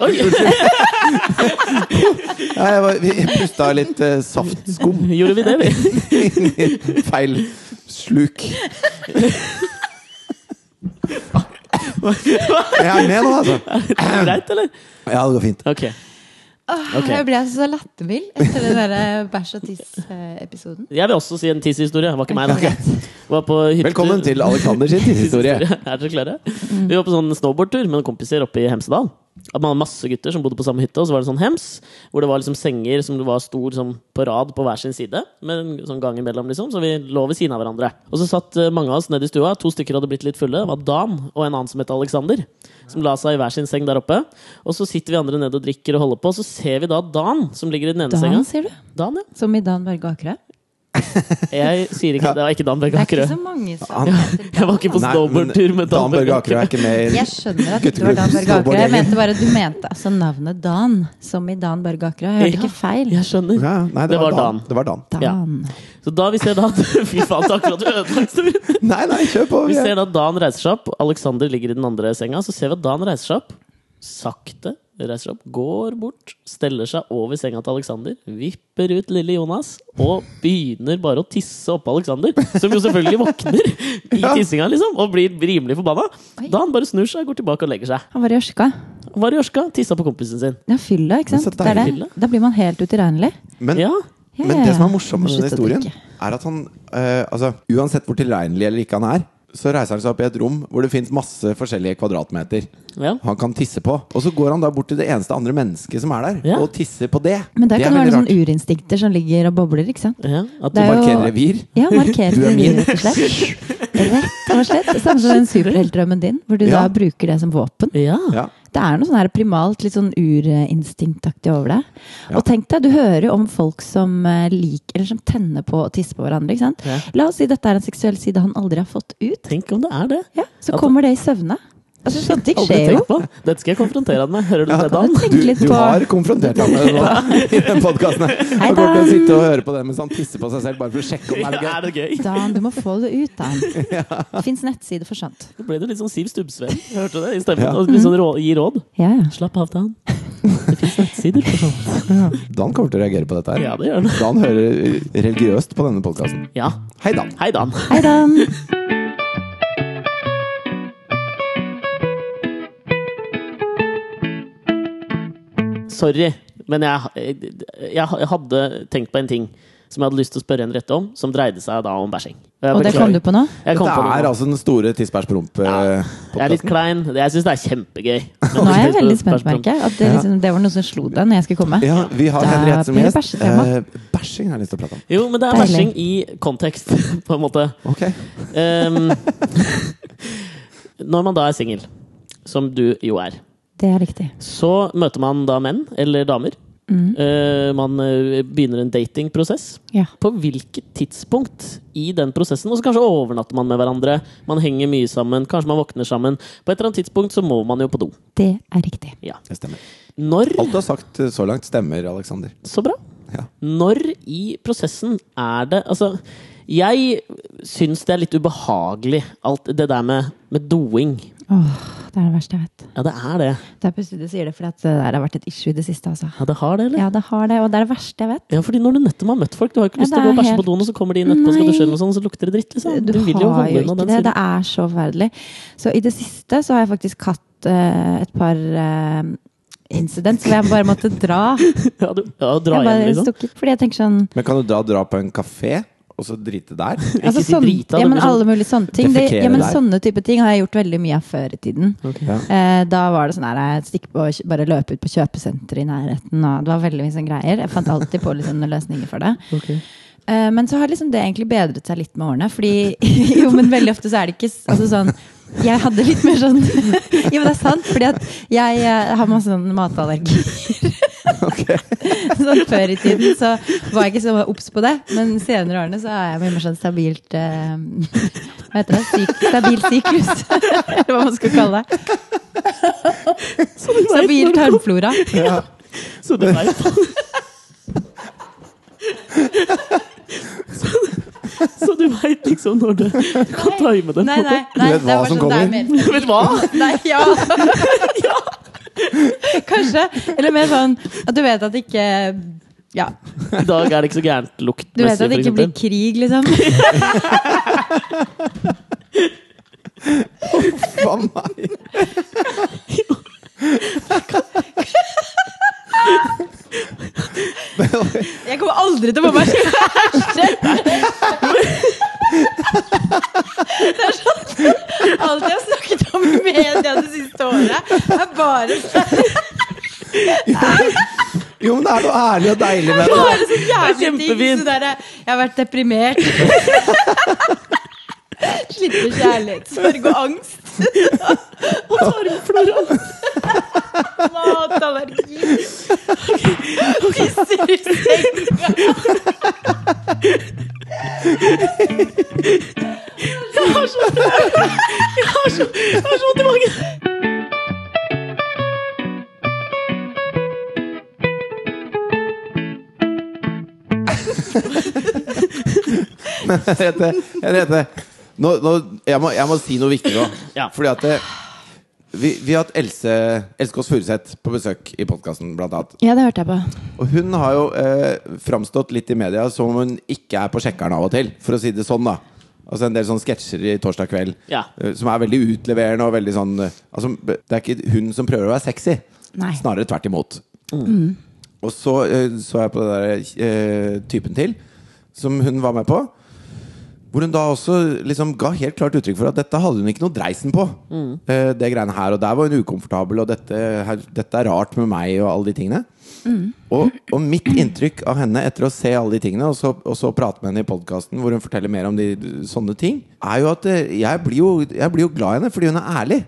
Speaker 3: Ja, jeg, var, jeg pusta litt eh, saftskum
Speaker 1: Gjorde vi det, vi?
Speaker 3: inn i feil sluk. Jeg er med nå, altså.
Speaker 1: Greit, eller?
Speaker 3: Ja, det går fint.
Speaker 1: Ok.
Speaker 2: Åh,
Speaker 1: Ok.
Speaker 2: Jeg ble så lattermild etter den der eh, bæsj og eh, tiss-episoden.
Speaker 1: Jeg vil også si en tiss-historie. Det var ikke meg, da. Var på hyttetur-
Speaker 3: Velkommen til Alexander sin tidshistorie.
Speaker 1: Er dere klare?
Speaker 2: Mm.
Speaker 1: Vi var på sånn snowboardtur med noen kompiser oppe i Hemsedal. At Man hadde masse gutter som bodde på samme hytte, og så var det sånn hems. Hvor det var liksom senger som det var stor sånn, på rad på hver sin side. Med en sånn gang imellom, liksom. Så vi lå ved siden av hverandre. Og så satt eh, mange av oss nede i stua. To stykker hadde blitt litt fulle. Det var Dan og en annen som het Alexander. Som la seg i hver sin seng der oppe. Og så sitter vi andre nede og drikker og holder på. Og så ser vi da Dan som ligger i den ene
Speaker 2: Dan,
Speaker 1: senga.
Speaker 2: sier du?
Speaker 1: Dan, ja.
Speaker 2: Som i Dan Børge Akerø?
Speaker 1: Jeg sier ikke Det var ikke Dan
Speaker 2: Det
Speaker 1: Børge
Speaker 2: er ikke
Speaker 1: Akerø.
Speaker 2: så mange som
Speaker 3: Han-
Speaker 2: heter
Speaker 1: Jeg var
Speaker 2: Dan.
Speaker 1: ikke på
Speaker 3: Nei, men eh,
Speaker 1: snowboardtur med
Speaker 3: Dan Børge Akerø er ikke med i
Speaker 2: Jeg skjønner at det ikke var Dan Børge Akerø. Jeg mente bare du mente altså navnet Dan. Som i Dan Børge Akerø. Jeg hørte ikke feil.
Speaker 1: Jeg skjønner.
Speaker 3: ja, Nei, det,
Speaker 1: Det var
Speaker 3: var
Speaker 1: Dan.
Speaker 3: Dan. Det var Dan.
Speaker 2: Dan.
Speaker 1: Så da vi ser da at Fy faen, takk for at du ødela historien.
Speaker 3: Nei, nei, kjør på.
Speaker 1: Vi ser da at Dan reiser seg opp, Alexander ligger i den andre senga. Så ser vi at Dan reiser seg opp. Sakte reiser seg opp, går bort, steller seg over senga til Alexander, vipper ut lille Jonas og begynner bare å tisse oppå Alexander. Som jo selvfølgelig våkner i
Speaker 3: Ja.
Speaker 1: tissinga liksom, og blir rimelig forbanna.
Speaker 2: Oi.
Speaker 1: Dan bare snur seg, går tilbake og legger seg.
Speaker 2: Han var i Ørska.
Speaker 1: Han var i ørska, tissa på kompisen sin.
Speaker 2: Ja, fylla, ikke
Speaker 3: Men så
Speaker 2: sant? Det er det.
Speaker 1: deilig.
Speaker 2: Da blir man helt utilregnelig.
Speaker 3: Men,
Speaker 1: Ja,
Speaker 2: Ja,
Speaker 3: men
Speaker 2: ja,
Speaker 3: det
Speaker 2: ja.
Speaker 3: som er morsomt
Speaker 2: Må
Speaker 3: med denne
Speaker 2: slutte å
Speaker 3: historien,
Speaker 2: drikke.
Speaker 3: er at han eh, altså, Uansett hvor tilregnelig eller ikke han er, så reiser han seg opp i et rom hvor det fins masse forskjellige kvadratmeter
Speaker 1: ja.
Speaker 3: han kan tisse på. Og så går han da bort til det eneste andre mennesket som er der,
Speaker 1: Ja.
Speaker 3: og tisser på det.
Speaker 2: Men der
Speaker 3: det
Speaker 2: kan det
Speaker 3: er
Speaker 2: være
Speaker 3: veldig
Speaker 2: noen
Speaker 3: rart.
Speaker 2: urinstinkter sånn som ligger og bobler, ikke sant?
Speaker 1: ja. At
Speaker 2: Det er
Speaker 1: du
Speaker 2: jo-
Speaker 3: Markerer revir.
Speaker 2: Ja, markere
Speaker 3: Du er
Speaker 2: det
Speaker 3: min.
Speaker 2: rett og slett. Rett og slett. Samme som den superheltdrømmen din, hvor du da
Speaker 3: Ja.
Speaker 2: bruker det som våpen.
Speaker 1: bare ja.
Speaker 3: Ja.
Speaker 2: Det er noe sånn her primalt, litt sånn urinstinktaktig over det. Og tenk deg, du hører jo om folk som eh, lik, eller som tenner på å tisse på hverandre. ikke sant?
Speaker 1: Ja.
Speaker 2: La oss si dette er en seksuell side han aldri har fått ut.
Speaker 1: Tenk om det er det.
Speaker 2: Ja, Så
Speaker 1: At-
Speaker 2: kommer det i søvne. Altså, Sånne ting
Speaker 1: Aldri
Speaker 2: skjer jo.
Speaker 1: tenkt på. Dette skal jeg konfrontere han med. Hører du det, Dan?
Speaker 2: Tenk
Speaker 3: Du,
Speaker 2: litt
Speaker 3: du
Speaker 2: på-
Speaker 3: har konfrontert ham med det nå i den podkasten.
Speaker 2: Hei,
Speaker 3: Han kommer til
Speaker 2: Dan.
Speaker 3: å sitte og høre på det mens han tisser på seg selv, bare for å sjekke om det er
Speaker 1: Ja,
Speaker 3: gøy.
Speaker 1: er det gøy?
Speaker 2: Dan, du må få det ut, Dan. Det fins nettsider for sånt.
Speaker 1: Da ble det litt sånn Siv Stubbsveen. Hørte du det? I stemmen. Og litt sånn rå, gi råd.
Speaker 2: Ja, ja.
Speaker 1: Slapp av, Dan. Det fins nettsider for sånn. sånt.
Speaker 3: Dan kommer til å reagere på dette her.
Speaker 1: Ja, det gjør han.
Speaker 3: Dan hører religiøst på denne podkasten.
Speaker 1: Ja.
Speaker 3: Hei, Dan.
Speaker 1: Hei, Dan.
Speaker 2: Hei, Dan.
Speaker 1: Sorry, men jeg, eh, jeg, jeg hadde tenkt på en ting som jeg hadde lyst til å spørre en rette om, som dreide seg da om bæsjing. Jeg
Speaker 2: Og det kom
Speaker 1: beklager.
Speaker 2: du på nå?
Speaker 1: Jeg kom
Speaker 3: Dette
Speaker 1: på
Speaker 3: er
Speaker 1: det nå.
Speaker 3: altså den store eh,
Speaker 1: Jeg er litt
Speaker 3: tissbæsjpromp-podkasten.
Speaker 1: klein. Jeg syns det er kjempegøy.
Speaker 2: Nå er jeg veldig spent, merker jeg. At det,
Speaker 3: Ja.
Speaker 2: liksom, det var noe som slo deg når jeg skulle komme.
Speaker 3: Ja, vi har
Speaker 2: Da
Speaker 3: Henriette som
Speaker 2: blir det
Speaker 3: gjest.
Speaker 2: bæsjetema.
Speaker 3: Eh, Bæsjing har jeg lyst til å prate om.
Speaker 1: Jo, men det er
Speaker 2: Deilig.
Speaker 1: bæsjing i kontekst, på en måte.
Speaker 3: Ok
Speaker 1: Ehm, når man da er singel, som du jo er,
Speaker 2: Det er riktig.
Speaker 1: så møter man da menn eller damer. Eh, man eh, begynner en datingprosess.
Speaker 2: Ja.
Speaker 1: På hvilket tidspunkt i den prosessen, og så kanskje overnatter man med hverandre, man henger mye sammen, kanskje man våkner sammen, på et eller annet tidspunkt så må man jo på do.
Speaker 2: Det er riktig.
Speaker 1: Ja.
Speaker 3: Det stemmer.
Speaker 1: Når
Speaker 3: Alt du har sagt eh, så langt, stemmer, Alexander.
Speaker 1: Så bra.
Speaker 3: Ja.
Speaker 1: Når i prosessen er det Altså, jeg syns det er litt ubehagelig, alt det der med, med doing.
Speaker 2: Åh, det er det verste jeg vet.
Speaker 1: Ja, det er det.
Speaker 2: Det er plutselig du sier det fordi at det der har vært et issue i det siste, altså.
Speaker 1: Ja, det har det, eller?
Speaker 2: Ja, det har det, og det er det verste jeg vet.
Speaker 1: Ja, fordi når du nettopp har møtt folk Du har jo ikke
Speaker 2: Ja,
Speaker 1: lyst til
Speaker 2: det
Speaker 1: å gå
Speaker 2: er
Speaker 1: og bæsje på
Speaker 2: helt-
Speaker 1: doen, og så kommer de inn etterpå og skal
Speaker 2: Nei.
Speaker 1: dusje, eller noe sånt, så lukter det dritt, liksom.
Speaker 2: Du,
Speaker 1: vil
Speaker 2: har
Speaker 1: holde unna
Speaker 2: jo ikke
Speaker 1: den
Speaker 2: det. Det
Speaker 1: siden.
Speaker 2: er så forferdelig. Så i det siste så har jeg faktisk hatt eh, et par uh, incident hvor jeg bare måtte dra.
Speaker 1: Ja, du, ja, dra
Speaker 2: Jeg
Speaker 1: hjem,
Speaker 2: bare
Speaker 1: liksom.
Speaker 2: stukket, fordi jeg tenker sånn
Speaker 3: Men kan du da dra på en kafé og så drite der.
Speaker 1: Ikke si drita,
Speaker 2: Altså, ja,
Speaker 1: det
Speaker 2: men
Speaker 1: blir sånn-
Speaker 2: alle mulige sånne ting. Det,
Speaker 3: Defekere
Speaker 2: ja, men
Speaker 3: der.
Speaker 2: sånne type ting har jeg gjort veldig mye av før i tiden.
Speaker 3: Ja.
Speaker 2: Eh, da var det sånn her jeg stikk på, og kjø- bare løpe ut på kjøpesenteret i nærheten. Og det var veldig mye sånne greier. Jeg fant alltid på litt sånne løsninger for det. Eh, men så har liksom det egentlig bedret seg litt med årene. Fordi jo, men veldig ofte så er det ikke s- altså sånn jeg hadde litt mer sånn Jo, men det er sant, fordi at jeg eh, har masse sånn matallergier. sånn før i tiden så var jeg ikke så obs på det, men senere årene så er jeg mye mer sånn stabilt eh, Hva heter det? Syk, stabil syklus, eller hva man skal kalle det.
Speaker 1: Sånn
Speaker 2: Stabil tarmflora.
Speaker 1: Så du vet. Så du- Så du veit liksom når du, du kan time det.
Speaker 2: Nei, nei, nei.
Speaker 3: Du vet hva som
Speaker 2: det er
Speaker 3: kommer.
Speaker 2: mer-
Speaker 1: Vet du hva?
Speaker 2: Nei, ja. ja. Kanskje. Eller mer sånn at du vet at det ikke Ja.
Speaker 1: I dag er det ikke så gærent lukt.
Speaker 2: Du vet at det ikke blir krig, liksom.
Speaker 3: Faen meg!
Speaker 2: Jeg kommer aldri til å få meg kjæreste! Det er sånn Alt jeg har snakket om i media det siste året, er bare,
Speaker 3: Jo, men det er noe ærlig og deilig med det.
Speaker 2: bare så jævlig ting.
Speaker 1: kjempefint.
Speaker 2: Så der, er- jeg har vært deprimert. Slitt med kjærlighetssorg og angst.
Speaker 1: Og tarmflora.
Speaker 2: Matallergi. Tisser i senga.
Speaker 1: Jeg har så vondt i magen.
Speaker 3: Henriette, Henriette. Nå, nå, jeg, må, jeg må si noe viktig nå.
Speaker 1: Ja.
Speaker 3: Fordi at det, vi, vi har hatt Else, Else Kåss Furuseth på besøk i podkasten, blant annet.
Speaker 2: Ja, det hørte jeg på.
Speaker 3: Og hun har jo eh, framstått litt i media som hun ikke er på sjekkeren av og til, for å si det sånn, da. Altså en del sånne sketsjer i torsdag kveld
Speaker 1: Ja.
Speaker 3: eh, som er veldig utleverende og veldig sånn eh, Altså, b- det er ikke hun som prøver å være sexy.
Speaker 2: Nei.
Speaker 3: Snarere tvert imot. Og så eh, så jeg på det der eh, typen til, som hun var med på. Hvor hun da også liksom ga helt klart uttrykk for at dette hadde hun ikke noe dreisen på. Eh, det greiene her og der var hun ukomfortabel, og dette, her, dette er rart med meg, og alle de tingene. Og, og mitt inntrykk av henne etter å se alle de tingene, og så, og så prate med henne i podkasten hvor hun forteller mer om de, sånne ting, er jo at eh, jeg blir jo, jeg blir jo glad i henne fordi hun er ærlig.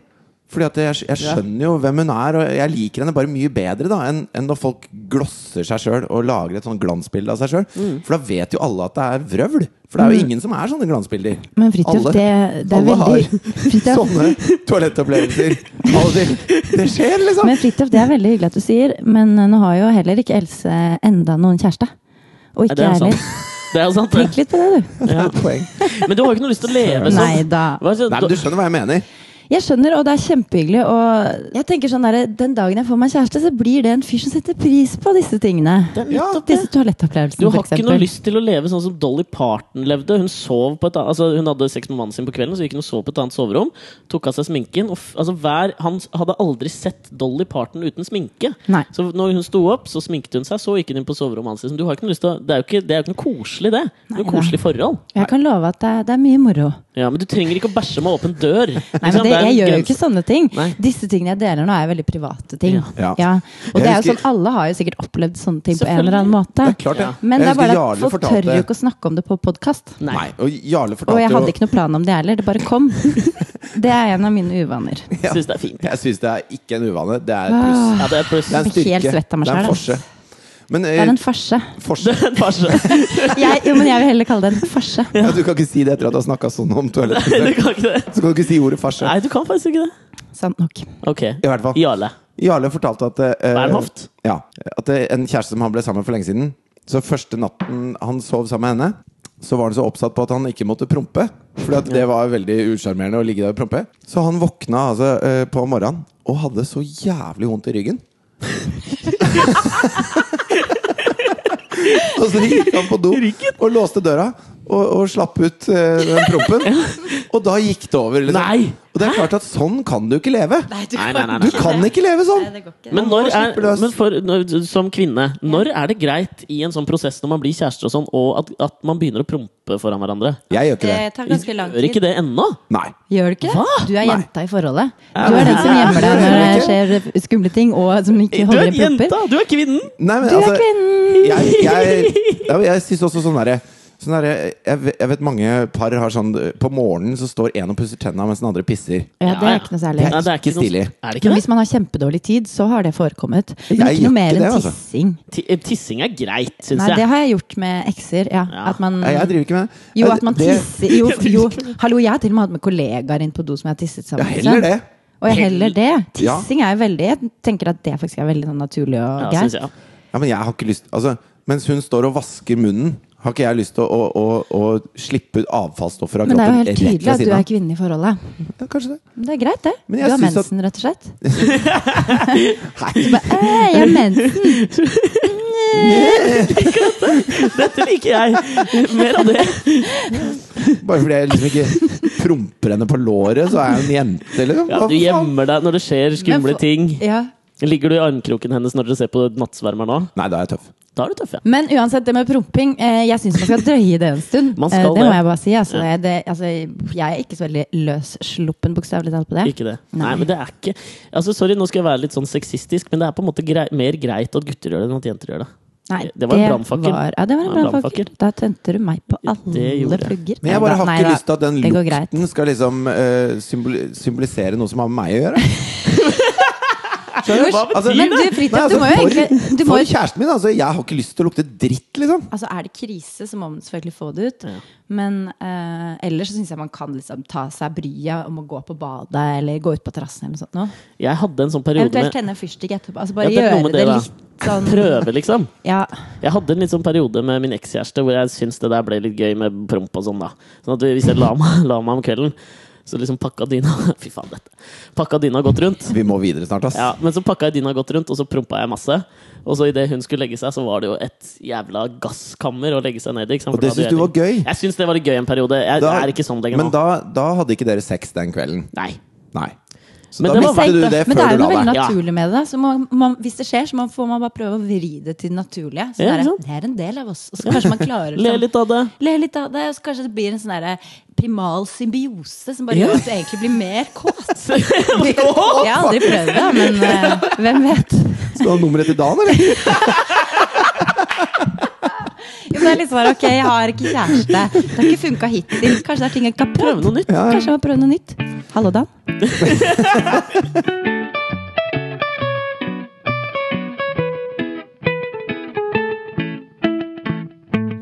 Speaker 3: Fordi at jeg, jeg skjønner jo hvem hun er, og jeg liker henne bare mye bedre da enn enn når folk glosser seg sjøl og lager et sånn glansbilde av seg sjøl.
Speaker 2: Mm.
Speaker 3: For da vet jo alle at det er vrøvl. For det er jo ingen som er sånne glansbilder.
Speaker 2: Men Fridtjof,
Speaker 3: Alle-
Speaker 2: det- det er
Speaker 3: alle
Speaker 2: veldig-
Speaker 3: har
Speaker 2: Fridtjof.
Speaker 3: sånne toalettopplevelser. Av og til. Det skjer, liksom!
Speaker 2: Men Fridtjof, det er veldig hyggelig at du sier, men eh, nå har jo heller ikke Else enda noen kjæreste. Og
Speaker 1: Nei,
Speaker 2: ikke
Speaker 1: det er
Speaker 2: jeg
Speaker 1: sant.
Speaker 2: heller.
Speaker 1: Det er sant.
Speaker 2: Tenk
Speaker 1: det.
Speaker 2: litt på det, du.
Speaker 1: Ja.
Speaker 3: Poeng.
Speaker 1: Men du har jo ikke noe lyst til å leve sånn.
Speaker 2: Nei da.
Speaker 1: Hva er det-
Speaker 3: Nei, men du skjønner hva jeg mener.
Speaker 2: Jeg skjønner, og det er kjempehyggelig. Og jeg tenker sånn der, den dagen jeg får meg kjæreste, så blir det en fyr som setter pris på disse tingene.
Speaker 1: Det er nettopp det.
Speaker 2: Disse toalettopplevelsene,
Speaker 1: Du har
Speaker 2: for
Speaker 1: ikke noe
Speaker 2: eksempel.
Speaker 1: lyst til å leve sånn som Dolly Parton levde. Hun sov på et annet, altså hun hadde sex med mannen sin på kvelden, så gikk hun og sov på et annet soverom. Tok av seg sminken. Og f altså hver, han s- hadde aldri sett Dolly Parton uten sminke.
Speaker 2: Nei.
Speaker 1: Så når hun sto opp, så sminket hun seg, så gikk hun inn på soverommet hans. liksom. Du har ikke noe lyst til å, det er jo ikke, det er jo ikke noe koselig, det. Det er
Speaker 2: Nei,
Speaker 1: Noe koselig forhold.
Speaker 2: Jeg kan love at det er, det er mye moro.
Speaker 1: Ja, Men du trenger ikke å bæsje med åpen dør.
Speaker 2: Nei, men det, jeg gjør jo ikke sånne ting.
Speaker 1: Nei.
Speaker 2: Disse tingene jeg deler nå, er veldig private ting.
Speaker 3: Ja.
Speaker 2: Ja. Og det er jo
Speaker 3: Jeg husker-
Speaker 2: sånn, alle har jo sikkert opplevd sånne ting på en eller annen måte.
Speaker 3: Det er klart, det.
Speaker 2: Men
Speaker 3: Jeg
Speaker 2: det er bare
Speaker 3: husker Jarle
Speaker 2: at folk
Speaker 3: fortalte-
Speaker 2: tør jo ikke å snakke om det på podkast.
Speaker 1: Nei.
Speaker 3: Nei, og Jarle
Speaker 2: Og
Speaker 3: fortalte
Speaker 2: jeg hadde
Speaker 3: jo
Speaker 2: ikke noe plan om det heller, det bare kom. Det er en av mine uvaner.
Speaker 1: Jeg syns det er fint.
Speaker 3: Jeg syns det er ikke en uvane. Det er et pluss.
Speaker 1: Ja, det er pluss.
Speaker 3: Det er en
Speaker 2: Jeg blir
Speaker 3: styrke.
Speaker 2: helt svett av meg
Speaker 3: det er en
Speaker 2: selv,
Speaker 3: forse. Men
Speaker 2: Det
Speaker 3: eh,
Speaker 2: er en farse.
Speaker 3: forse
Speaker 1: Det er en farse.
Speaker 2: Jeg, jo, men jeg vil heller kalle det en farse.
Speaker 3: ja, Du kan ikke si det etter at du har snakka sånn om
Speaker 1: Du
Speaker 3: toalettet.
Speaker 1: kan ikke det.
Speaker 3: Så kan du ikke si ordet farse.
Speaker 1: Nei, du kan faktisk ikke det.
Speaker 2: Sant nok.
Speaker 1: Ok.
Speaker 3: I hvert fall.
Speaker 1: Jarle.
Speaker 3: Jarle fortalte at eh,
Speaker 1: Bernhoft.
Speaker 3: Ja, at eh, en kjæreste som han ble sammen med for lenge siden Så første natten han sov sammen med henne Så var han så oppsatt på at han ikke måtte prompe Fordi at det var veldig usjarmerende å ligge der og prompe Så han våkna altså, eh, på morgenen Og hadde så jævlig vondt i ryggen Og så gikk han på do Og låste døra og, og slapp ut eh, den prompen. Og da gikk det over. Liksom.
Speaker 1: Nei!
Speaker 3: Og det er klart at sånn kan du ikke leve.
Speaker 2: Nei,
Speaker 1: Nei, nei, nei,
Speaker 3: Du
Speaker 1: nei.
Speaker 3: kan ikke leve sånn!
Speaker 2: Nei, det går ikke.
Speaker 1: Men, når er,
Speaker 3: slippe løs.
Speaker 1: men for, når, som kvinne, når er det greit i en sånn prosess når man blir kjærester og sånn, og at, at man begynner å prompe foran hverandre?
Speaker 3: Jeg gjør ikke
Speaker 2: det
Speaker 3: det.
Speaker 2: tar ganske lang
Speaker 1: Gjør ikke
Speaker 2: tid.
Speaker 1: det ennå?
Speaker 3: Nei.
Speaker 2: Gjør det ikke det?
Speaker 1: Hva?
Speaker 2: Du er
Speaker 3: Nei.
Speaker 2: jenta i forholdet. Du er den som
Speaker 3: Ja.
Speaker 2: gjemmer deg
Speaker 3: Gjør
Speaker 2: når det
Speaker 3: det
Speaker 2: skjer skumle ting, og som ikke
Speaker 1: Du er
Speaker 2: holder i pupper.
Speaker 1: jenta! Du er kvinnen!
Speaker 3: Nei, men
Speaker 2: Du er
Speaker 3: altså,
Speaker 2: kvinnen!
Speaker 3: Jeg, jeg, ja, men jeg syns også sånn derre sånn derre- jeg, ve- jeg vet mange par har sånn På morgenen så står en og pusser tenna mens den andre pisser.
Speaker 2: Ja, det er ikke noe særlig.
Speaker 1: Nei, det er ikke
Speaker 3: Ikke
Speaker 1: Noe,
Speaker 3: stilig.
Speaker 1: er det
Speaker 2: Men
Speaker 1: ikke det?
Speaker 2: hvis man har kjempedårlig tid, så har det forekommet. Men
Speaker 3: Jeg
Speaker 2: ikke
Speaker 3: gjør
Speaker 2: noe mer
Speaker 3: ikke det,
Speaker 2: enn
Speaker 3: altså.
Speaker 2: tissing.
Speaker 1: Ti- eh, Tissing er greit, syns
Speaker 2: Nei, det
Speaker 1: jeg.
Speaker 2: har jeg gjort med ekser. Ja.
Speaker 1: Ja.
Speaker 2: At man,
Speaker 3: Nei, jeg driver ikke med det.
Speaker 2: Mm. jo, at man
Speaker 3: Det-
Speaker 2: tisser jo, jo, hallo, jeg har til og med hatt med kollegaer inn på do som jeg har tisset sammen
Speaker 3: Ja, heller det.
Speaker 2: Og jeg heller det.
Speaker 3: Ja.
Speaker 2: Tissing er jo veldig Jeg tenker at det faktisk er veldig sånn naturlig og
Speaker 1: Ja,
Speaker 2: greit.
Speaker 1: synes jeg.
Speaker 3: Ja, men jeg har ikke lyst Altså, mens hun står og vasker munnen, har ikke jeg lyst til å, å, å, å slippe ut avfallsstoffer av
Speaker 2: Men det er jo
Speaker 3: kroppen
Speaker 2: helt
Speaker 3: rett ved
Speaker 2: tydelig at du
Speaker 3: siden av.
Speaker 2: er kvinne i forholdet.
Speaker 3: Ja, kanskje det.
Speaker 2: Men Det er greit, det.
Speaker 3: Men
Speaker 2: Du
Speaker 3: jeg
Speaker 2: har
Speaker 3: synes at-
Speaker 2: mensen, rett og slett.
Speaker 3: Nei.
Speaker 2: Bare, «Æ, jeg har mensen.
Speaker 1: Dette liker jeg! Mer av det.
Speaker 3: Bare fordi jeg liksom ikke promper henne på låret, så er jeg en jente, liksom.
Speaker 1: Ja,
Speaker 3: Hva
Speaker 1: du
Speaker 3: faen?
Speaker 1: gjemmer deg når det skjer
Speaker 2: Men
Speaker 1: skumle
Speaker 2: for-
Speaker 1: ting.
Speaker 2: Ja.
Speaker 1: Ligger du i armkroken hennes når dere ser på Nattsvermer nå?
Speaker 3: Nei, da er jeg tøff.
Speaker 1: Da er du tøff, ja.
Speaker 2: Men uansett, det med promping eh, Jeg syns man skal drøye det en stund.
Speaker 1: Man
Speaker 2: Eh,
Speaker 1: skal
Speaker 2: det må
Speaker 1: det.
Speaker 2: jeg bare si. Altså,
Speaker 1: Ja.
Speaker 2: det, altså, jeg er ikke så veldig løssluppen, bokstavelig talt, på det.
Speaker 1: Ikke det. Nei. men det er ikke Altså, Sorry, nå skal jeg være litt sånn sexistisk, men det er på en måte grei, mer greit at gutter gjør det enn at jenter gjør det.
Speaker 2: Nei,
Speaker 1: Det var en brannfakkel.
Speaker 2: var- Ja, det var en
Speaker 1: Ja, en
Speaker 2: brannfakkel. Da tente du meg på
Speaker 1: Det
Speaker 2: alle
Speaker 1: gjorde jeg.
Speaker 2: plugger.
Speaker 3: Men jeg bare har
Speaker 2: Nei
Speaker 3: ikke
Speaker 2: da,
Speaker 3: lyst til at den
Speaker 2: det går greit.
Speaker 3: lukten skal liksom eh, symboli- symbolisere noe som har med meg å gjøre. Skjønner du?
Speaker 1: Hva betyr
Speaker 2: Men du, Fridtjof,
Speaker 3: Nei, altså,
Speaker 2: du må jo
Speaker 3: for,
Speaker 2: egentlig- du må
Speaker 3: For
Speaker 2: jo-
Speaker 3: kjæresten min, altså. Jeg har ikke lyst til å lukte dritt, liksom.
Speaker 2: Altså, er det krise, så må man selvfølgelig få det ut. Men eh, ellers så syns jeg man kan liksom ta seg bryet om å gå på badet eller gå ut på terrassen eller noe sånt. Nå.
Speaker 1: Jeg hadde en sånn periode med
Speaker 2: Eventuelt tenne en fyrstikk etterpå. Altså
Speaker 1: Ja,
Speaker 2: bare
Speaker 1: det er noe
Speaker 2: gjøre
Speaker 1: med
Speaker 2: det,
Speaker 1: det, da.
Speaker 2: litt sånn
Speaker 1: Prøve, liksom.
Speaker 2: Ja.
Speaker 1: Jeg hadde en litt sånn periode med min ekskjæreste hvor jeg syntes det der ble litt gøy med promp og sånn, da. Sånn at hvis jeg la meg, la meg om kvelden, så liksom pakka dyna Fy faen, dette. Pakka dyna godt rundt.
Speaker 3: Vi må videre snart, ass.
Speaker 1: Ja, men så pakka jeg dyna godt rundt, og så prompa jeg masse. Og så idet hun skulle legge seg, så var det jo et jævla gasskammer å legge seg ned i. Ikke sant?
Speaker 3: Og det
Speaker 1: For da hadde
Speaker 3: syns du var
Speaker 1: jeg-
Speaker 3: gøy?
Speaker 1: Jeg syns det var litt gøy en periode. Jeg
Speaker 3: Da-
Speaker 1: er ikke sånn lenger
Speaker 3: men
Speaker 1: nå.
Speaker 3: da, da hadde ikke dere sex den kvelden.
Speaker 1: Nei.
Speaker 3: Nei. Så
Speaker 1: Men
Speaker 3: da
Speaker 1: det var
Speaker 3: visste
Speaker 1: seint,
Speaker 3: du
Speaker 1: da.
Speaker 3: det
Speaker 2: Men det
Speaker 3: før
Speaker 2: er jo
Speaker 3: du
Speaker 2: noe
Speaker 3: la
Speaker 2: veldig
Speaker 3: deg.
Speaker 1: Ja.
Speaker 2: naturlig med det. Så må, man, hvis det skjer, så må, får man bare prøve å vri det til det naturlige. Sånn
Speaker 1: Ja,
Speaker 2: der,
Speaker 1: ikke sant?
Speaker 2: det er en del av oss. Og så kanskje man klarer
Speaker 1: Le
Speaker 2: sånn-
Speaker 1: litt av det.
Speaker 2: Le litt av det, og så kanskje det blir en sånn derre primal symbiose som bare
Speaker 1: Ja.
Speaker 2: gjør at du egentlig blir mer kåt.
Speaker 1: Mer
Speaker 2: Jeg har aldri prøvd det, men eh, hvem vet?
Speaker 3: Skal du ha nummeret til Dan, eller?
Speaker 2: Jo, men det er litt sånn, ok, jeg har ikke kjæreste. Det har ikke funka hittil. Kanskje det er ting jeg ikke har
Speaker 1: Prøve
Speaker 2: prøvd.
Speaker 1: noe nytt.
Speaker 2: Kanskje jeg må prøve noe nytt. Hallo, Dan.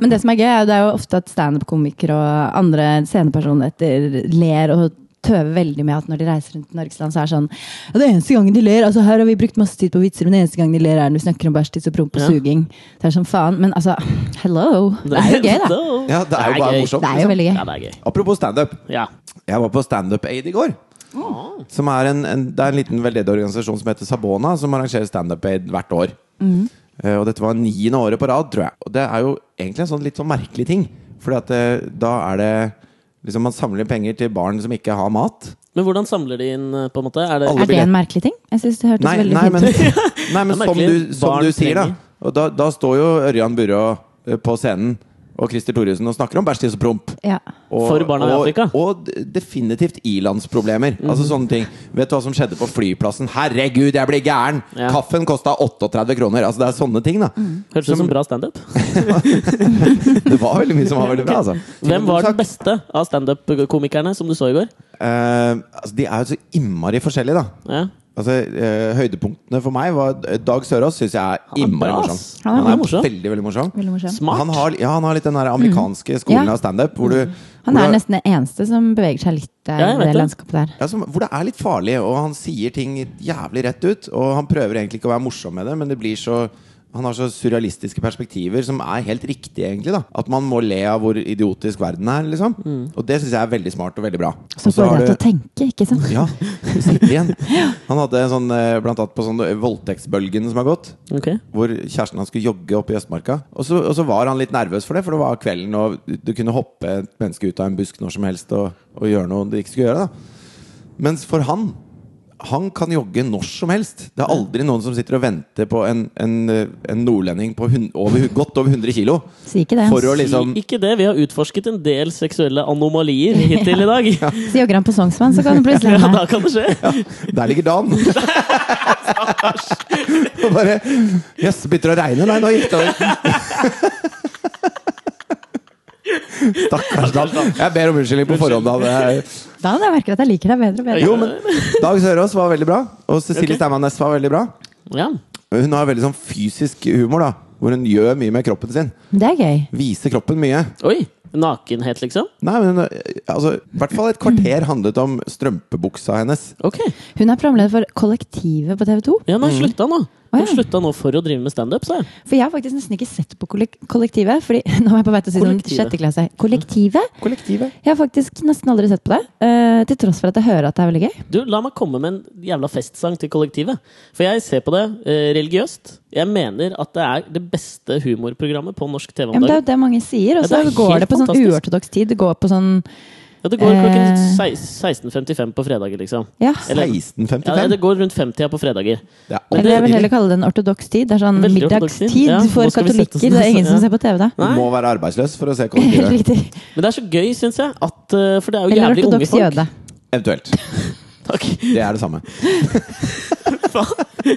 Speaker 2: Men det som er gøy, er jo det er jo ofte at standup-komikere og andre scenepersoner etter ler og tøver veldig med at når de reiser rundt i Norges land, så er det sånn ja, det eneste gangen de ler, altså Her har vi brukt masse tid på vitser, men det eneste gangen de ler, er når vi snakker om bæsj, tiss og promp og
Speaker 1: Ja.
Speaker 2: suging. Det er sånn faen. Men altså, hello! Det er jo gøy, da.
Speaker 3: Ja, det er jo bare
Speaker 1: gøy.
Speaker 3: morsomt.
Speaker 2: Det er jo veldig gøy.
Speaker 1: Ja, det er gøy.
Speaker 3: Apropos standup.
Speaker 1: Ja.
Speaker 3: Jeg var på standup-aid i går.
Speaker 1: Mm.
Speaker 3: Som er en, en, det er en liten veldedig organisasjon som heter Sabona, som arrangerer standup-aid hvert år.
Speaker 1: Mm.
Speaker 3: Eh, og dette var niende året på rad, tror jeg. Og det er jo egentlig en sånn litt sånn merkelig ting. Fordi at eh, da er det liksom Man samler penger til barn som ikke har mat.
Speaker 1: Men hvordan samler de inn, eh, på en måte? Er det,
Speaker 3: Alle
Speaker 2: Er det en merkelig ting? Jeg synes det hørtes
Speaker 3: Nei,
Speaker 2: veldig
Speaker 3: nei, men,
Speaker 2: fint ut.
Speaker 3: nei, men
Speaker 1: Det er
Speaker 3: som
Speaker 1: merkelig.
Speaker 3: du, som
Speaker 1: Barn
Speaker 3: du sier, da.
Speaker 1: trenger.
Speaker 3: Og da, da står jo Ørjan Burå eh, på scenen og Christer Thoresen og snakker om bæsj, tiss og promp.
Speaker 2: Ja.
Speaker 3: Og,
Speaker 1: For barna i
Speaker 3: og,
Speaker 1: Afrika. Mm.
Speaker 3: Og d- definitivt i-landsproblemer. Altså sånne ting Vet du hva som skjedde på flyplassen? Herregud, jeg blir gæren!
Speaker 1: Ja. Mm.
Speaker 3: Kaffen kosta 38 kroner. Altså Det er sånne ting, da.
Speaker 1: Hørtes ut som bra standup.
Speaker 3: Det var veldig mye som var veldig bra, altså.
Speaker 1: Hvem var den beste av standup-komikerne som du så i går?
Speaker 3: Eh, altså, de er jo så innmari forskjellige, da.
Speaker 1: Ja.
Speaker 3: Altså, eh, høydepunktene for meg var Dag Sørås syns jeg er
Speaker 1: er
Speaker 3: innmari
Speaker 1: bra,
Speaker 3: morsom.
Speaker 1: ass.
Speaker 2: Han er
Speaker 1: morsom.
Speaker 3: veldig, veldig morsom.
Speaker 2: Veldig morsom.
Speaker 1: Smart.
Speaker 3: Han har, ja, han har litt den der amerikanske skolen
Speaker 2: Ja. Mm.
Speaker 3: av standup hvor, du-
Speaker 2: Han er
Speaker 3: hvor, du-
Speaker 2: nesten den eneste som beveger seg litt der,
Speaker 1: Ja, jeg
Speaker 2: i
Speaker 1: vet
Speaker 2: det
Speaker 1: det.
Speaker 2: landskapet der.
Speaker 3: ja, som, hvor det er litt farlig, og han sier ting jævlig rett ut. Og han prøver egentlig ikke å være morsom med det, men det blir så Han har så surrealistiske perspektiver som er helt riktige, egentlig. da At man må le av hvor idiotisk verden er, liksom. Og det syns jeg er veldig smart og veldig bra.
Speaker 2: Mm. Så
Speaker 3: Og så
Speaker 2: får
Speaker 3: har
Speaker 2: deg til
Speaker 3: du-
Speaker 2: å tenke, ikke sant?
Speaker 3: Ja, det sitter igjen. Han hadde en sånn, eh, blant annet på sånn voldtektsbølgen som har gått.
Speaker 1: Ok.
Speaker 3: Hvor kjæresten hans skulle jogge oppe i Østmarka. Og så, og så var han litt nervøs for det, for det var kvelden, og du kunne hoppe et menneske ut av en busk når som helst og, og gjøre noe du ikke skulle gjøre. da mens for han han kan jogge når som helst. Det er aldri noen som sitter og venter på en, en, en nordlending på hun, over, godt over 100 kilo.
Speaker 2: Si ikke det.
Speaker 3: For å liksom
Speaker 1: Si ikke det. Vi har utforsket en del seksuelle anomalier hittil i dag.
Speaker 2: Så jogger han på Sognsvann, så kan du plutselig
Speaker 1: Ja, da kan det skje.
Speaker 3: Der ligger Dan! og bare Jøss, det begynner å regne. Nei, nå gikk det over. Stakkars Dan. Jeg ber om unnskyldning på forhånd. Dan. Jeg-
Speaker 2: Da hadde jeg merket at jeg liker deg bedre og bedre.
Speaker 3: Jo, men Dag Sørås var veldig bra. Og Cecilie
Speaker 1: Ok.
Speaker 3: Steinmann Næss var veldig bra.
Speaker 1: Ja.
Speaker 3: Hun har veldig sånn fysisk humor, da. Hvor hun gjør mye med kroppen sin.
Speaker 2: Det er gøy.
Speaker 3: Viser kroppen mye.
Speaker 1: Oi. Nakenhet, liksom?
Speaker 3: Nei, men eh, altså, I hvert fall et kvarter handlet om strømpebuksa hennes.
Speaker 1: Ok.
Speaker 2: Hun er programleder for Kollektivet på TV 2.
Speaker 1: Ja, nei, slutta nå. Hun
Speaker 2: Mm. Å, ja.
Speaker 1: slutta nå for å drive med standup, sa jeg.
Speaker 2: For jeg har faktisk nesten ikke sett på kollek Kollektivet. Fordi, nå er jeg på vei til å si sånn
Speaker 1: Kollektivet.
Speaker 2: sjette klasse. Kollektivet?
Speaker 3: Kollektivet.
Speaker 2: Jeg har faktisk nesten aldri sett på det. eh, til tross for at jeg hører at det er veldig gøy.
Speaker 1: Du, La meg komme med en jævla festsang til kollektivet. For jeg ser på det eh, religiøst. Jeg mener at det er det beste humorprogrammet på norsk TV
Speaker 2: Ja,
Speaker 1: om
Speaker 2: men det er
Speaker 1: dagen.
Speaker 2: jo det mange sier.
Speaker 1: Ja, det
Speaker 2: Og så
Speaker 1: er helt
Speaker 2: går det på sånn
Speaker 1: fantastisk.
Speaker 2: uortodoks tid. Det går på sånn
Speaker 1: Ja, det går klokken
Speaker 2: Eh.
Speaker 1: sei- 16.55 på fredager, liksom.
Speaker 2: Ja.
Speaker 1: Eller-
Speaker 3: 16.55.
Speaker 1: Ja, det går rundt femtida på fredager.
Speaker 3: Ja, og
Speaker 2: Eller jeg vil heller
Speaker 3: det
Speaker 2: kalle det en ortodoks tid. Det er sånn
Speaker 1: Veldig ortodoks tid,
Speaker 2: middagstid
Speaker 1: ja.
Speaker 2: for
Speaker 1: Nå skal vi sette
Speaker 2: katolikker.
Speaker 1: oss
Speaker 2: Det er ingen
Speaker 1: ned, ja.
Speaker 2: som ser på TV da.
Speaker 3: Du
Speaker 1: Nei.
Speaker 3: må være arbeidsløs for å se
Speaker 2: Helt
Speaker 3: kollektivet.
Speaker 2: riktig.
Speaker 1: Men det er så gøy, syns jeg. At, eh, for det er jo
Speaker 2: Eller
Speaker 1: jævlig unge
Speaker 2: ortodoks
Speaker 1: folk.
Speaker 2: jøde.
Speaker 3: Eventuelt.
Speaker 1: Takk.
Speaker 3: Det er det samme.
Speaker 1: Faen.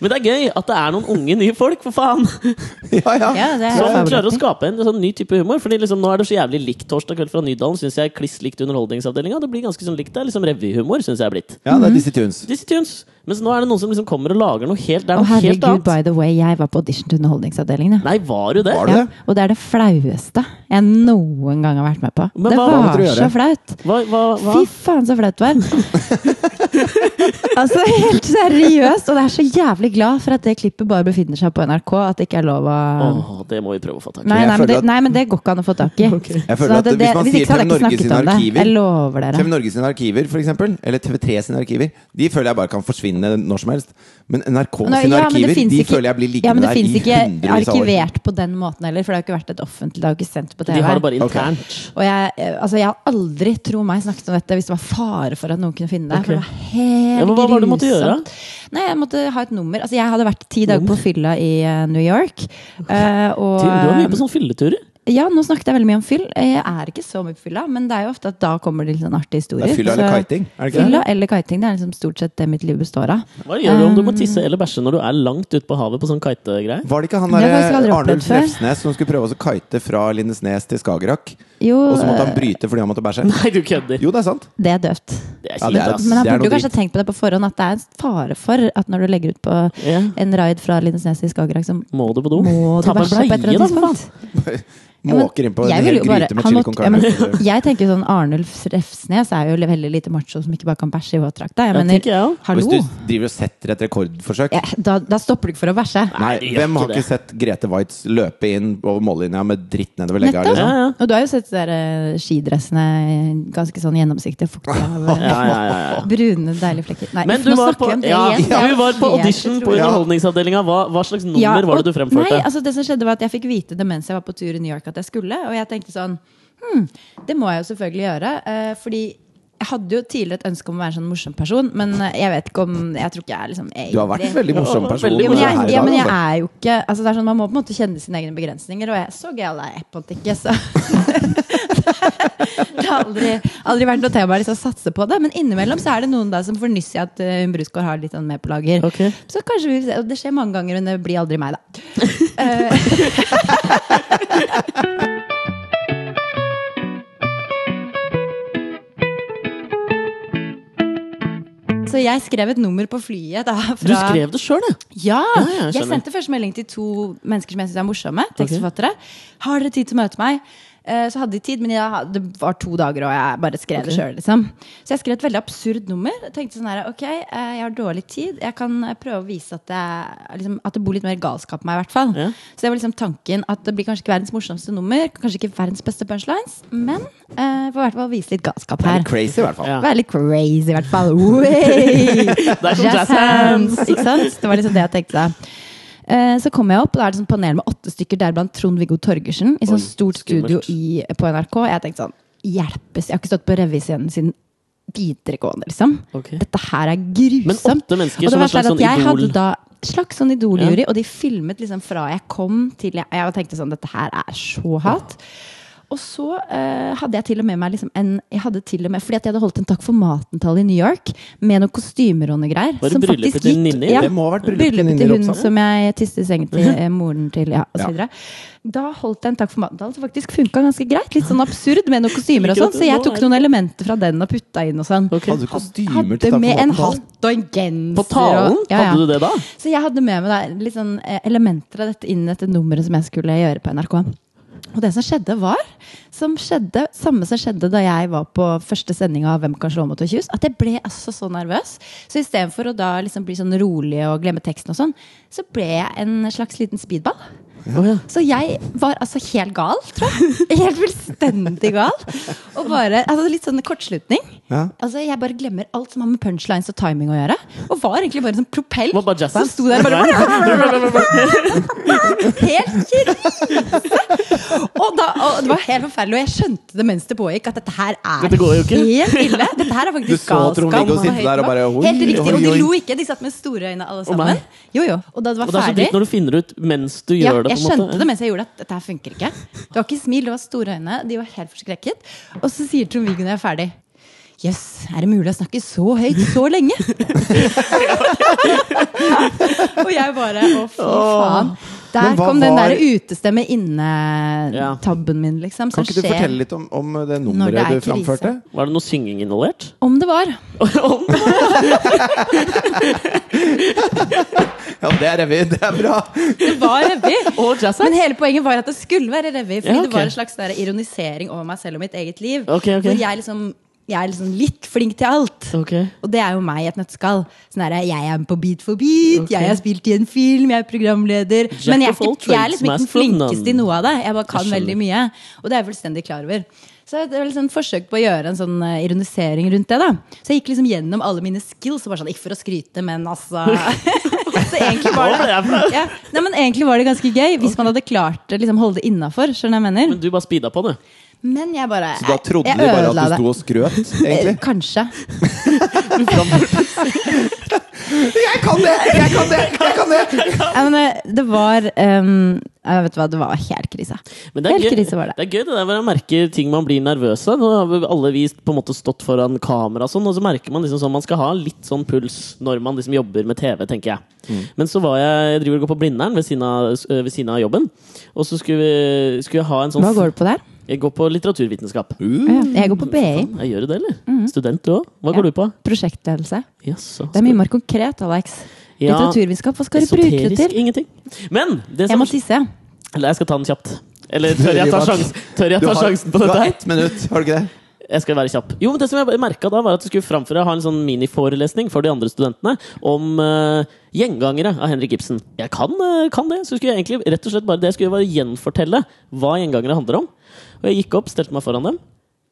Speaker 1: Men det er gøy at det er noen unge, nye folk, for faen!
Speaker 3: Ja, ja.
Speaker 2: Ja, det er
Speaker 1: Som
Speaker 2: fabelaktig.
Speaker 1: klarer å skape en sånn ny type humor. Fordi liksom, Nå er det så jævlig likt Torsdag kveld fra Nydalen, syns jeg. er Kliss likt Underholdningsavdelinga. Det blir ganske sånn likt. Det er liksom revyhumor, syns jeg er blitt.
Speaker 3: ja, det
Speaker 2: Mhm.
Speaker 3: er Dizzie Tunes.
Speaker 1: Dizzie Tunes. Mens nå er det noen som liksom kommer og lager noe helt Det er
Speaker 2: Og
Speaker 1: noe helt
Speaker 2: herregud,
Speaker 1: annet.
Speaker 2: by the way, jeg var på audition til Underholdningsavdelingen. jeg.
Speaker 1: Nei, var du det?
Speaker 3: Var du
Speaker 2: Ja,
Speaker 3: det?
Speaker 2: og det er det flaueste jeg noen gang har vært med på.
Speaker 1: Men
Speaker 2: det
Speaker 1: hva- hva
Speaker 2: var
Speaker 3: måtte du gjøre?
Speaker 2: så flaut!
Speaker 1: Hva, hva, hva?
Speaker 2: Fy faen, så flaut det var! altså, helt seriøst! Og det er så jævlig glad for at det klippet bare befinner seg på NRK, at det ikke er lov å
Speaker 1: Åh, det må vi prøve å få tak i.
Speaker 2: Nei,
Speaker 3: Jeg
Speaker 2: nei, men
Speaker 3: føler
Speaker 2: det,
Speaker 3: at-
Speaker 2: nei, men det går ikke an å få tak i.
Speaker 3: Jeg føler
Speaker 2: Så
Speaker 3: at
Speaker 2: det-
Speaker 3: hvis man
Speaker 2: det-
Speaker 3: sier
Speaker 2: ikke så hadde jeg ikke
Speaker 3: TV Norge
Speaker 2: snakket
Speaker 3: sine
Speaker 2: om det. Jeg
Speaker 3: arkiver
Speaker 2: lover dere.
Speaker 3: TV Norge sine arkiver, for eksempel, eller TV3 sine arkiver, de føler jeg bare kan forsvinne når som helst. Men NRK
Speaker 2: Nå,
Speaker 3: sine
Speaker 2: ja, men det
Speaker 3: arkiver,
Speaker 2: finnes
Speaker 3: de
Speaker 2: ikke-
Speaker 3: føler jeg blir
Speaker 2: ja, men det
Speaker 3: liggende der i
Speaker 2: finnes ikke
Speaker 3: hundrevis av år.
Speaker 2: arkivert på den måten heller, for det har ikke vært et offentlig, det har jo ikke sendt på TV.
Speaker 1: De har det bare
Speaker 3: Ok.
Speaker 1: internt.
Speaker 2: Og jeg, eh, altså jeg har aldri, tro meg, snakket om dette hvis det var fare for at noen kunne finne det. For det var helt
Speaker 1: Ja, men hva var det du måtte
Speaker 2: grusomt. Nei, jeg måtte ha et nummer. Altså, jeg hadde vært ti dager på fylla i eh, New York. eh, og,
Speaker 1: Du er mye på sånne fylleturer.
Speaker 2: ja, nå snakket jeg veldig mye om fyll. Eh, Jeg er ikke så mye på fylla, men det er jo ofte at da kommer det litt sånn artige historier.
Speaker 3: Det er fylla eller
Speaker 2: Så-
Speaker 3: kiting, er det ikke
Speaker 2: Fylla eller kiting, det er liksom stort sett det mitt liv består av.
Speaker 1: Hva gjør du om du må tisse eller bæsje når du er langt ute på havet på sånn kitegreie?
Speaker 3: Var det ikke han
Speaker 2: Det har jeg faktisk aldri
Speaker 3: der
Speaker 2: opplevd
Speaker 3: Arnulf
Speaker 2: før.
Speaker 3: Refsnes som skulle prøve å kite fra Lindesnes til Skagerrak?
Speaker 2: Jo,
Speaker 3: Og så måtte han
Speaker 2: eh,
Speaker 3: bryte fordi han måtte bæsje?
Speaker 1: Nei, du kødder!
Speaker 3: Jo, det er sant.
Speaker 2: det er døvt.
Speaker 1: Det er
Speaker 3: Ja,
Speaker 1: kjipt,
Speaker 3: det er-
Speaker 1: ass.
Speaker 2: Men han
Speaker 3: Det er
Speaker 2: burde jo
Speaker 3: noe
Speaker 2: kanskje tenkt på det på forhånd, at det er en fare for at når du legger ut på
Speaker 1: Ja.
Speaker 2: en raid fra Lindesnes i Skagerrak, så
Speaker 1: Må du på do?
Speaker 2: Må du
Speaker 1: Ta på en
Speaker 2: bæsje på et
Speaker 1: bleie,
Speaker 2: eller
Speaker 1: da,
Speaker 2: annet
Speaker 1: for faen!
Speaker 2: tidspunkt? Ja, men
Speaker 3: Måker innpå
Speaker 2: jeg vil
Speaker 3: en hel
Speaker 2: jo bare-
Speaker 3: gryte med
Speaker 2: han
Speaker 3: chili
Speaker 2: måtte-
Speaker 3: con
Speaker 2: ja,
Speaker 3: carne.
Speaker 2: men Jeg tenker sånn Arnulf Refsnes er jo veldig lite macho som ikke bare kan bæsje i våtdrakta. Jeg
Speaker 1: Ja,
Speaker 2: mener,
Speaker 1: tenker jeg også.
Speaker 2: hallo!
Speaker 3: Hvis du driver og setter et rekordforsøk
Speaker 2: Ja, da, da stopper du ikke for å bæsje.
Speaker 3: Nei,
Speaker 1: det gjør
Speaker 3: hvem har
Speaker 1: ikke
Speaker 3: ikke
Speaker 1: det.
Speaker 3: sett Grete Waitz løpe inn over mållinja med dritt nedover legga?
Speaker 2: Nettopp!
Speaker 3: Liksom?
Speaker 1: Ja, ja.
Speaker 2: Og du har jo sett de der eh, skidressene ganske sånn gjennomsiktige, fuktige av eh,
Speaker 1: Ja, ja, ja, ja.
Speaker 2: brune, deilige flekker. Nei,
Speaker 1: Men
Speaker 2: uff,
Speaker 1: du
Speaker 2: nå
Speaker 1: var
Speaker 2: snakker
Speaker 1: på,
Speaker 2: vi om det
Speaker 1: ja,
Speaker 2: igjen. Det er
Speaker 1: du
Speaker 2: jo
Speaker 1: var på
Speaker 2: helt
Speaker 1: audition på
Speaker 2: utrolig.
Speaker 1: Underholdningsavdelinga. Hva, hva slags nummer
Speaker 2: Ja,
Speaker 1: var det du
Speaker 2: og-
Speaker 1: fremførte?
Speaker 2: Nei, altså det som skjedde var at Jeg fikk vite det mens jeg var på tur i New York at jeg skulle. Og jeg tenkte sånn hm, Det må jeg jo selvfølgelig gjøre. eh, fordi jeg hadde jo tidligere et ønske om å være en sånn morsom person, men eh, jeg vet ikke om Jeg tror ikke jeg er liksom egentlig
Speaker 3: Du har vært en veldig morsom
Speaker 1: Ja,
Speaker 3: person.
Speaker 1: veldig
Speaker 2: ja, men,
Speaker 3: også
Speaker 2: jeg,
Speaker 3: her i
Speaker 2: ja,
Speaker 3: dag,
Speaker 2: men jeg
Speaker 3: altså.
Speaker 2: er jo ikke altså det er sånn, Man må på en måte kjenne sine egne begrensninger, og jeg så gæl er jeg på en måte ikke. Så. det har aldri, aldri vært noe tema å liksom satse på det. Men innimellom så er det noen da som får nyss i at eh, hun Brusgaard har litt sånn med på lager.
Speaker 1: Ok.
Speaker 2: Så kanskje vi vil se, og Det skjer mange ganger, men det blir aldri meg, da. Eh. Så jeg skrev et nummer på flyet. da fra,
Speaker 1: du skrev det sjøl, ja!
Speaker 2: ja!
Speaker 1: Ja, ja, jeg
Speaker 2: jeg,
Speaker 1: skjønner.
Speaker 2: sendte først melding til to mennesker som jeg syns er morsomme. Tekstforfattere. Har dere tid til å møte meg? Eh, Så hadde de tid, men jeg, ha- det var to dager, og jeg bare skrev det sjøl. Liksom. Så jeg skrev et veldig absurd nummer. Jeg tenkte sånn her, ok, eh, jeg har dårlig tid. Jeg kan eh, prøve å vise at, jeg, liksom, at det bor litt mer galskap i meg, i hvert fall.
Speaker 1: Ja.
Speaker 2: Så det var liksom tanken at det blir kanskje ikke verdens morsomste nummer, kanskje ikke verdens beste punchlines, men eh, får i hvert fall vise litt galskap her.
Speaker 3: Crazy, i hvert fall.
Speaker 1: Ja.
Speaker 2: Være litt crazy, i hvert fall. Way!
Speaker 1: er som jazz hands.
Speaker 2: Ikke sant? Det var liksom det jeg tenkte. Eh, Så kom jeg opp, og da er det sånn panel med åtte stykker, deriblant Trond-Viggo Torgersen, i sånn stort studio
Speaker 1: skummelt.
Speaker 2: i, på NRK. Jeg tenkte sånn Hjelpes! Jeg har ikke stått på revyscenen siden videregående, liksom.
Speaker 1: Ok.
Speaker 2: Dette her er grusomt.
Speaker 1: Men åtte mennesker
Speaker 2: Og det
Speaker 1: som
Speaker 2: var
Speaker 1: en slags
Speaker 2: sånn
Speaker 1: sånn
Speaker 2: at jeg
Speaker 1: idol.
Speaker 2: hadde da slags sånn idoljury, og de filmet liksom fra jeg kom til jeg, jeg tenkte sånn, dette her er så hat. Og så eh, hadde jeg til og med meg liksom en jeg hadde til og med, Fordi at jeg hadde holdt en Takk for maten-tall i New York med noen kostymer og noe greier.
Speaker 1: Var det bryllupet til Ninni?
Speaker 2: Ja,
Speaker 3: Det må ha vært bryllupet til
Speaker 2: bryllupet
Speaker 3: Ninni
Speaker 2: til hun
Speaker 3: Ropstad.
Speaker 2: som jeg tiste i sengen til eh, moren til, ja, og så
Speaker 3: Ja.
Speaker 2: videre. Da holdt jeg en Takk for maten-tall som faktisk funka ganske greit. Litt sånn absurd med noen kostymer og
Speaker 1: Liker
Speaker 2: sånn.
Speaker 1: at
Speaker 2: Så
Speaker 1: nå
Speaker 2: jeg tok
Speaker 1: er-
Speaker 2: noen elementer fra den og putta inn og sånn.
Speaker 1: Ok.
Speaker 3: Hadde du kostymer
Speaker 2: Hadde
Speaker 3: til
Speaker 2: med en
Speaker 3: Takk for maten?
Speaker 2: hatt og en genser.
Speaker 1: På talen?
Speaker 2: og- ja, ja.
Speaker 1: Hadde du det da?
Speaker 2: Så jeg hadde med meg da, litt sånn eh, elementer av dette inn i dette nummeret som jeg skulle gjøre på NRK. Og det som skjedde, var som skjedde, samme som skjedde da jeg var på første sending av Hvem kan slå mot og kyss, at jeg ble altså så nervøs. Så istedenfor å da liksom bli sånn rolig og glemme teksten og sånn, så ble jeg en slags liten speedball.
Speaker 1: Å, ja.
Speaker 2: Så jeg var altså helt gal, tror jeg. Helt fullstendig gal. Og bare, altså Litt sånn kortslutning.
Speaker 3: Ja.
Speaker 2: Altså Jeg bare glemmer alt som har med punchlines og timing å gjøre. Og var egentlig bare en sånn propell
Speaker 1: Var bare jazz
Speaker 2: som sto der og bare helt krise. Og, da, og det var helt forferdelig, og jeg skjønte det mens det pågikk, at dette her er
Speaker 1: Dette går jo ikke.
Speaker 2: helt ille. Dette her er
Speaker 3: Du
Speaker 2: faktisk
Speaker 3: så
Speaker 2: galskap.
Speaker 3: Trond-Viggo
Speaker 2: på
Speaker 3: sitte
Speaker 2: høyt
Speaker 3: der og
Speaker 2: nivå.
Speaker 3: bare, oi,
Speaker 2: Helt riktig. Og
Speaker 3: oi,
Speaker 2: de
Speaker 3: oi.
Speaker 2: lo ikke, de satt med store øyne alle sammen.
Speaker 1: meg?
Speaker 2: Jo, jo. Og da det var
Speaker 1: Og det er så
Speaker 2: ferdig
Speaker 1: dritt når du finner ut mens du
Speaker 2: ja,
Speaker 1: gjør det.
Speaker 2: jeg
Speaker 1: på en
Speaker 2: skjønte
Speaker 1: måte.
Speaker 2: det mens jeg gjorde det. at Dette her funker ikke. Det var ikke smil, det var store øyne. De var helt forskrekket. Og så sier Trond-Viggo når jeg er ferdig Jøss, yes, er det mulig å snakke så høyt så lenge? og jeg bare Å, fy faen. Der
Speaker 3: Men hva
Speaker 2: kom den
Speaker 3: var-
Speaker 2: der utestemme inne-tabben min, liksom.
Speaker 3: Kan
Speaker 2: Som
Speaker 3: ikke du
Speaker 2: skjer
Speaker 3: fortelle litt om, om det
Speaker 2: Når det
Speaker 3: nummeret
Speaker 2: er
Speaker 3: du framførte?
Speaker 2: krise.
Speaker 1: Var det noe synging involvert?
Speaker 2: om det var.
Speaker 1: Om det var-
Speaker 3: Ja, det er revy. Det er bra.
Speaker 2: Det var revy.
Speaker 1: Og jazz
Speaker 2: Men hele poenget var at det skulle være revy. Fordi
Speaker 1: Ja, ok.
Speaker 2: det var en slags der ironisering over meg selv og mitt eget liv.
Speaker 1: Ok, ok.
Speaker 2: Hvor jeg liksom jeg er liksom litt flink til alt.
Speaker 1: Ok.
Speaker 2: Og det er jo meg i et nøtteskall. Sånn der, jeg er med på Beat for beat,
Speaker 1: Ok.
Speaker 2: jeg har spilt i en film, jeg er programleder.
Speaker 1: Jack
Speaker 2: Men jeg er,
Speaker 1: of all
Speaker 2: ikke, jeg er liksom
Speaker 1: trades,
Speaker 2: ikke
Speaker 1: master
Speaker 2: den
Speaker 1: of none.
Speaker 2: flinkeste i noe av det. Jeg bare kan
Speaker 1: Jeg skjønner.
Speaker 2: veldig mye. Og det er jeg fullstendig klar over. Så det var liksom et forsøk på å gjøre en sånn eh, ironisering rundt det. da Så jeg gikk liksom gjennom alle mine skills, og bare sånn, ikke for å skryte, men altså Så egentlig var det
Speaker 1: Å, det er bra.
Speaker 2: ja. Nei, men egentlig var det ganske gøy, hvis man hadde klart å liksom, holde det innafor. Skjønner du hva
Speaker 1: Men
Speaker 2: jeg mener?
Speaker 1: du bare speeda på, du.
Speaker 2: Men jeg bare
Speaker 3: Så da trodde
Speaker 2: jeg
Speaker 3: de bare at
Speaker 2: ødela
Speaker 3: du
Speaker 2: det.
Speaker 3: sto og skrøt,
Speaker 2: Eh,
Speaker 3: egentlig?
Speaker 2: Kanskje.
Speaker 3: Jeg kan det! Jeg kan det! Jeg kan det!
Speaker 2: Ja, men eh, det var ehm, jeg vet hva, det var helt krise.
Speaker 1: Men det er,
Speaker 2: helt
Speaker 1: gøy,
Speaker 2: krise var det.
Speaker 1: det er gøy det der hvor man merker ting man blir nervøs av. Nå har vi alle vi på en måte stått foran kamera og sånn, og så merker man liksom sånn man skal ha litt sånn puls når man liksom jobber med TV, tenker jeg.
Speaker 3: Mm.
Speaker 1: Men så var jeg Jeg driver og går på Blindern ved siden av, øh, ved siden av jobben, og så skulle, vi, skulle jeg ha en sånn
Speaker 2: Hva går det på der?
Speaker 1: Jeg går på litteraturvitenskap.
Speaker 3: Uh.
Speaker 2: Ja, Jeg går på BI.
Speaker 1: Jeg gjør jo det, eller?
Speaker 2: Mm.
Speaker 1: Student du òg? Hva går du på?
Speaker 2: Prosjektledelse.
Speaker 1: Jaså.
Speaker 2: Det er mye mer konkret, Alex.
Speaker 1: Ja.
Speaker 2: Litteraturvitenskap, hva skal du bruke det
Speaker 1: Esoterisk
Speaker 2: til?
Speaker 1: ingenting. Men det
Speaker 2: Jeg
Speaker 1: som
Speaker 2: må tisse.
Speaker 1: Eller jeg skal ta den kjapt. Eller tør jeg ta, sjans, tør jeg
Speaker 3: Du
Speaker 1: ta
Speaker 3: har,
Speaker 1: sjansen på
Speaker 3: du
Speaker 1: dette?
Speaker 3: har
Speaker 1: her?
Speaker 3: ett minutt, har du ikke det?
Speaker 1: Jeg skal være kjapp. Jo, men Det som jeg merket da, var at du skulle framføre ha en sånn miniforelesning for de andre studentene om eh, gjengangere av Henrik Ibsen. Jeg kan, eh, kan det, så skulle jeg egentlig rett og slett bare det jeg skulle bare gjenfortelle hva gjengangere handler om. Og jeg gikk opp, stelte meg foran dem.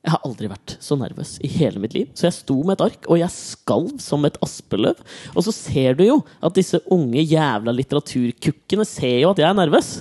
Speaker 1: Jeg har aldri vært så nervøs i hele mitt liv. Så jeg sto med et ark, og jeg skalv som et aspeløv. Og så ser du jo at disse unge jævla litteraturkukkene ser jo at jeg er nervøs.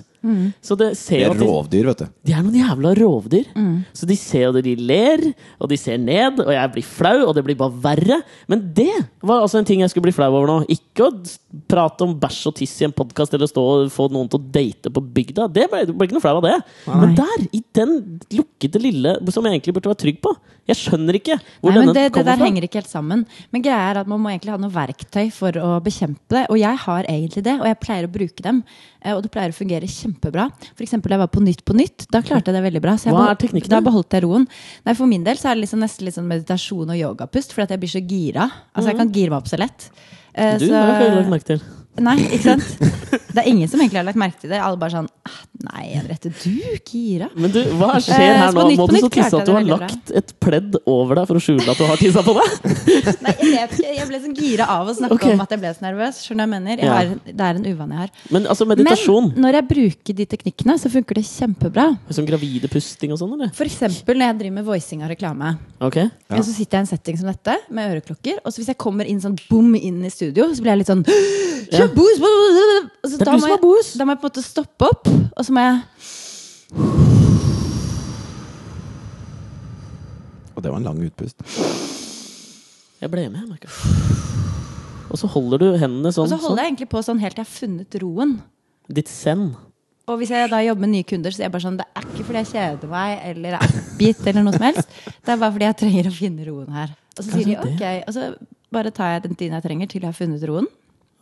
Speaker 1: Så det ser
Speaker 3: Det
Speaker 1: jo
Speaker 3: er
Speaker 1: at de,
Speaker 3: rovdyr, vet du.
Speaker 1: de er noen jævla rovdyr.
Speaker 2: Mm.
Speaker 1: Så de ser jo det, de ler, og de ser ned, og jeg blir flau, og det blir bare verre. Men det var altså en ting jeg skulle bli flau over nå. Ikke å s- prate om bæsj og tiss i en podkast, eller stå og få noen til å date på bygda. Det ble, det ble ikke noe flau av det. Men der, i den lukkede lille som jeg egentlig burde være trygg på Jeg skjønner ikke hvor
Speaker 2: Nei, men
Speaker 1: denne
Speaker 2: det, det
Speaker 1: kommer
Speaker 2: der
Speaker 1: fra.
Speaker 2: henger ikke helt sammen. Men greia er at man må egentlig ha noe verktøy for å bekjempe det. Og jeg har egentlig det, og jeg pleier å bruke dem. eh, Og det pleier å fungere kjempebra. F.eks. da jeg var på Nytt på nytt. Da klarte jeg det veldig bra. Så jeg
Speaker 1: Hva er
Speaker 2: behold-
Speaker 1: teknikken?
Speaker 2: Da beholdt jeg roen. Nei, For min del så er det liksom nesten litt sånn meditasjon og yogapust, fordi at jeg blir så gira. Altså jeg kan gire meg opp så lett. Eh,
Speaker 1: Du, det Mm. har jeg ikke lagt merke til.
Speaker 2: Nei, ikke sant? Det er ingen som egentlig har lagt merke til det. Alle bare sånn "Ah, Nei, Henriette, du, Kira.
Speaker 1: Men du, hva skjer her
Speaker 2: Eh, så
Speaker 1: nå?
Speaker 2: på Nytt
Speaker 1: Må
Speaker 2: på
Speaker 1: du
Speaker 2: Nytt
Speaker 1: så tisse
Speaker 2: klarte
Speaker 1: at du har
Speaker 2: jeg det veldig
Speaker 1: lagt et pledd over deg for å skjule at du har tissa på deg?
Speaker 2: Nei, jeg vet ikke. Jeg ble sånn gira av å snakke
Speaker 1: Ok.
Speaker 2: om at jeg ble så nervøs. Skjønner du hva jeg mener? Jeg
Speaker 1: Ja.
Speaker 2: har, det er en uvane jeg har.
Speaker 1: Men altså, meditasjon
Speaker 2: Men når jeg bruker de teknikkene, så funker det kjempebra.
Speaker 1: Som gravide pusting og sånn, eller?
Speaker 2: For eksempel når jeg driver med voicing av reklame.
Speaker 1: Ok.
Speaker 2: Og så sitter jeg i en setting som dette, med øreklokker. Og så hvis jeg kommer inn sånn boom inn i studio, så blir jeg litt sånn
Speaker 1: Ja.
Speaker 2: «Boos, boos, boos». Og så
Speaker 1: Det er
Speaker 2: da
Speaker 1: du
Speaker 2: må
Speaker 1: som har
Speaker 2: jeg-
Speaker 1: boos.
Speaker 2: Da må jeg på en måte stoppe opp, og så må jeg
Speaker 3: Og det var en lang utpust.
Speaker 1: Jeg ble med, jeg merker det. Og så holder du hendene
Speaker 2: Og
Speaker 1: sånn.
Speaker 2: så holder
Speaker 1: sånn.
Speaker 2: jeg egentlig på sånn helt til jeg har funnet roen.
Speaker 1: Ditt send.
Speaker 2: Og hvis jeg da jobber med nye kunder, så er jeg bare sånn Det er ikke fordi jeg kjeder meg eller er oppgitt eller noe som helst. Det er bare fordi jeg trenger å finne roen her. Og så sier de
Speaker 1: Kanskje
Speaker 2: ok. Og så bare tar jeg den tiden jeg trenger til jeg har funnet roen.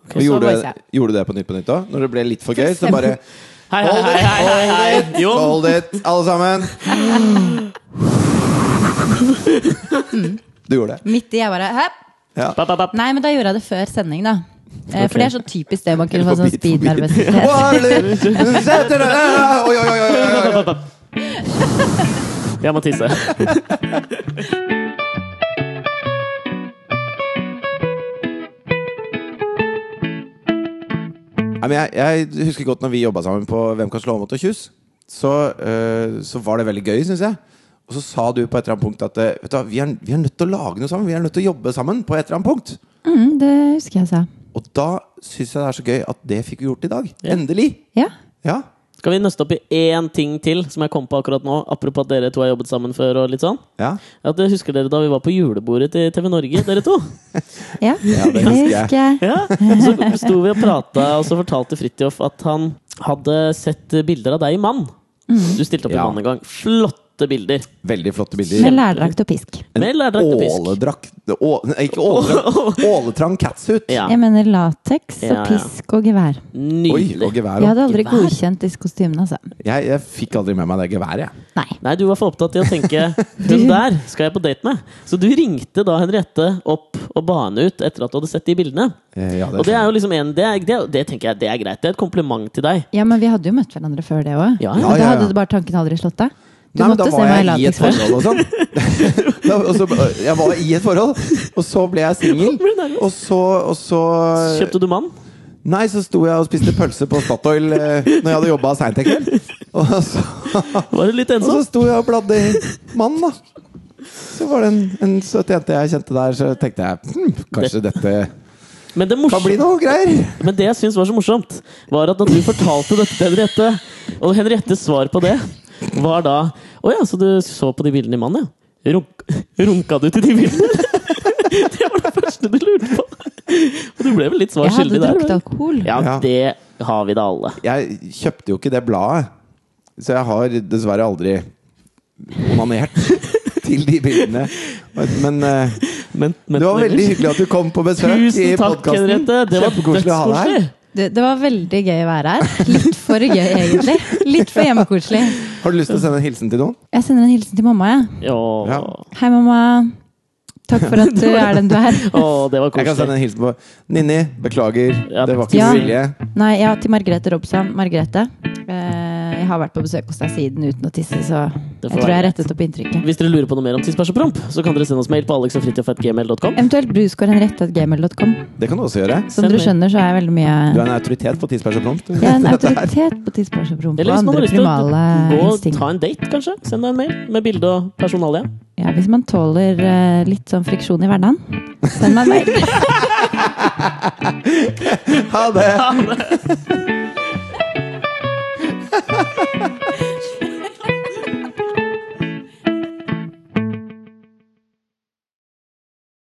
Speaker 3: Og gjorde,
Speaker 2: voice
Speaker 3: du- gjorde du det på Nytt på Nytt òg? Når det ble litt for gøy, så bare
Speaker 1: Hei, hei,
Speaker 3: Hold
Speaker 1: hei,
Speaker 3: it,
Speaker 1: hei, hei, hei.
Speaker 3: hold it,
Speaker 1: Jon.
Speaker 3: hold it, alle sammen. Du gjorde det.
Speaker 2: Midt i jeg bare Hæ?
Speaker 3: Ja.
Speaker 1: Papp, papp, papp.
Speaker 2: Nei, men da gjorde jeg det før sending, da. Eh,
Speaker 1: Ok.
Speaker 2: For det er så typisk det. Man kunne få
Speaker 3: Forbi,
Speaker 2: sånn
Speaker 3: forbi.
Speaker 2: speed-nervøsitet.
Speaker 3: Wally, setter deg ned. Oi, oi, oi, oi, oi, oi.
Speaker 1: Jeg må tisse.
Speaker 3: Nei, men jeg, jeg husker godt når vi jobba sammen på Hvem kan slå mot og kyss. Så, eh, så var det veldig gøy, syns jeg. Og så sa du på et eller annet punkt at eh, vet du, hva, vi, er, vi er nødt til å lage noe sammen. Vi er nødt til å jobbe sammen på et eller annet punkt.
Speaker 2: Mm, det husker jeg jeg sa.
Speaker 3: Og da syns jeg det er så gøy at det fikk vi gjort i dag.
Speaker 1: Ja.
Speaker 3: Endelig.
Speaker 2: Ja.
Speaker 3: Ja.
Speaker 1: Skal vi nøste opp i én ting til som jeg kom på akkurat nå? Apropos at dere to har jobbet sammen før. og litt sånn
Speaker 3: Ja.
Speaker 1: At dere Husker dere da vi var på julebordet til TV Norge, dere to?
Speaker 2: ja.
Speaker 3: det husker jeg.
Speaker 2: jeg.
Speaker 1: Ja, Så sto vi og prata, og så fortalte Fridtjof at han hadde sett bilder av deg i Mann.
Speaker 2: Mm.
Speaker 1: Du stilte opp i
Speaker 3: Ja.
Speaker 1: Mann en gang. Flotte bilder.
Speaker 3: Veldig flotte bilder.
Speaker 2: Med lærdrakt og pisk.
Speaker 1: Med lærdrakt og pisk.
Speaker 3: Åledrakt å- nei, Ikke åledrakt. Åletrang catsuit.
Speaker 1: Ja,
Speaker 2: Jeg mener lateks
Speaker 1: Ja, ja.
Speaker 2: og pisk og gevær.
Speaker 3: Oi,
Speaker 1: Nydelig.
Speaker 3: og gevær
Speaker 2: Jeg
Speaker 3: òg.
Speaker 2: hadde aldri
Speaker 1: Gevær?
Speaker 2: godkjent disse kostymene, altså.
Speaker 3: Jeg, jeg fikk aldri med meg det geværet. jeg.
Speaker 2: Nei.
Speaker 1: Nei, du var for opptatt til å tenke 'hun der skal jeg på date med'. Så du ringte da Henriette opp og ba henne ut etter at du hadde sett de bildene.
Speaker 3: Eh, Ja,
Speaker 1: Og det er jo liksom en Det, er- det, er- det tenker jeg det er greit. Det er et kompliment til deg.
Speaker 2: Ja, men vi hadde jo møtt hverandre før det òg.
Speaker 1: Ja,
Speaker 2: Og
Speaker 1: ja,
Speaker 3: ja,
Speaker 2: Da
Speaker 3: ja.
Speaker 2: hadde du bare tanken aldri slått deg. Du
Speaker 3: Nei, men
Speaker 2: måtte
Speaker 3: da
Speaker 2: se
Speaker 3: var
Speaker 2: meg i
Speaker 3: jeg i et
Speaker 2: lateks først.
Speaker 3: forhold og sånn. da, og så, eh, jeg var i et forhold, og så ble jeg singel. Og så, og så
Speaker 1: Kjøpte du mann?
Speaker 3: Nei, så sto jeg og spiste pølse på Statoil eh, når jeg hadde jobba seint en kveld. Og så,
Speaker 1: Var du litt
Speaker 3: og så
Speaker 1: ensom?
Speaker 3: sto jeg og bladde i mannen, da. Så var det en, en søt jente jeg kjente der, så tenkte jeg hm, kanskje dette
Speaker 1: Men det
Speaker 3: kan bli
Speaker 1: morsomme
Speaker 3: noe greier.
Speaker 1: Men det jeg syns var så morsomt, var at da du fortalte dette til Henriette, og Henriettes svar på det var da Å ja, så du så på de bildene i mannen, ja? Runk, runka du til de bildene? det var det første du lurte på. Og du ble vel litt svar
Speaker 2: Jeg hadde
Speaker 1: skyldig der?
Speaker 2: drukket
Speaker 1: vel?
Speaker 2: alkohol.
Speaker 1: Ja,
Speaker 3: Ja.
Speaker 1: det har vi da alle.
Speaker 3: Jeg kjøpte jo ikke det bladet, så jeg har dessverre aldri onanert til de bildene. Men eh,
Speaker 1: Men, men,
Speaker 3: det var veldig hyggelig at du kom på besøk i
Speaker 1: Tusen takk,
Speaker 3: podkasten.
Speaker 1: Henriette. Det var
Speaker 3: Kjempekoselig å ha deg her.
Speaker 1: dødskoselig.
Speaker 2: Det, det var veldig gøy å være her. Litt for gøy, egentlig. Litt for hjemmekoselig.
Speaker 3: Har du lyst til å sende en hilsen til noen?
Speaker 2: Jeg sender en hilsen til mamma, jeg.
Speaker 1: Å,
Speaker 3: Ja.
Speaker 2: Hei, mamma. Takk for at du er den du er.
Speaker 1: å, det var
Speaker 3: Jeg kan sende
Speaker 1: koselig.
Speaker 3: en hilsen på Ninni. Beklager,
Speaker 1: Ja,
Speaker 3: det var ikke
Speaker 2: Ja.
Speaker 3: med vilje.
Speaker 2: Nei, ja, til Margrethe Robson. Margrethe, eh, jeg har vært på besøk hos deg siden uten å tisse, så
Speaker 1: Det får
Speaker 2: jeg tror
Speaker 1: være
Speaker 2: jeg
Speaker 1: greit.
Speaker 2: rettet opp inntrykket.
Speaker 1: Hvis dere lurer på noe mer om tisspæsj og promp, så kan dere sende oss mail på alexogfritjof.gmail.com.
Speaker 2: Eventuelt bruskårenrette.gmail.com.
Speaker 3: Det kan du også gjøre.
Speaker 2: Som
Speaker 1: Send
Speaker 2: dere
Speaker 1: mail.
Speaker 2: skjønner, så er jeg veldig mye
Speaker 3: Du er en autoritet på tidsbæsj og prompt.
Speaker 2: Jeg er en
Speaker 3: Dette her.
Speaker 2: autoritet på tissebarnspromp og
Speaker 1: Eller hvis man har
Speaker 2: andre
Speaker 1: lyst til å
Speaker 2: primale
Speaker 1: gå og ta
Speaker 2: instinkter.
Speaker 1: en date, kanskje. Send deg en mail med bilde og personalia.
Speaker 2: Ja, hvis man tåler eh, litt sånn friksjon i hverdagen, send meg en mail.
Speaker 3: Ha det!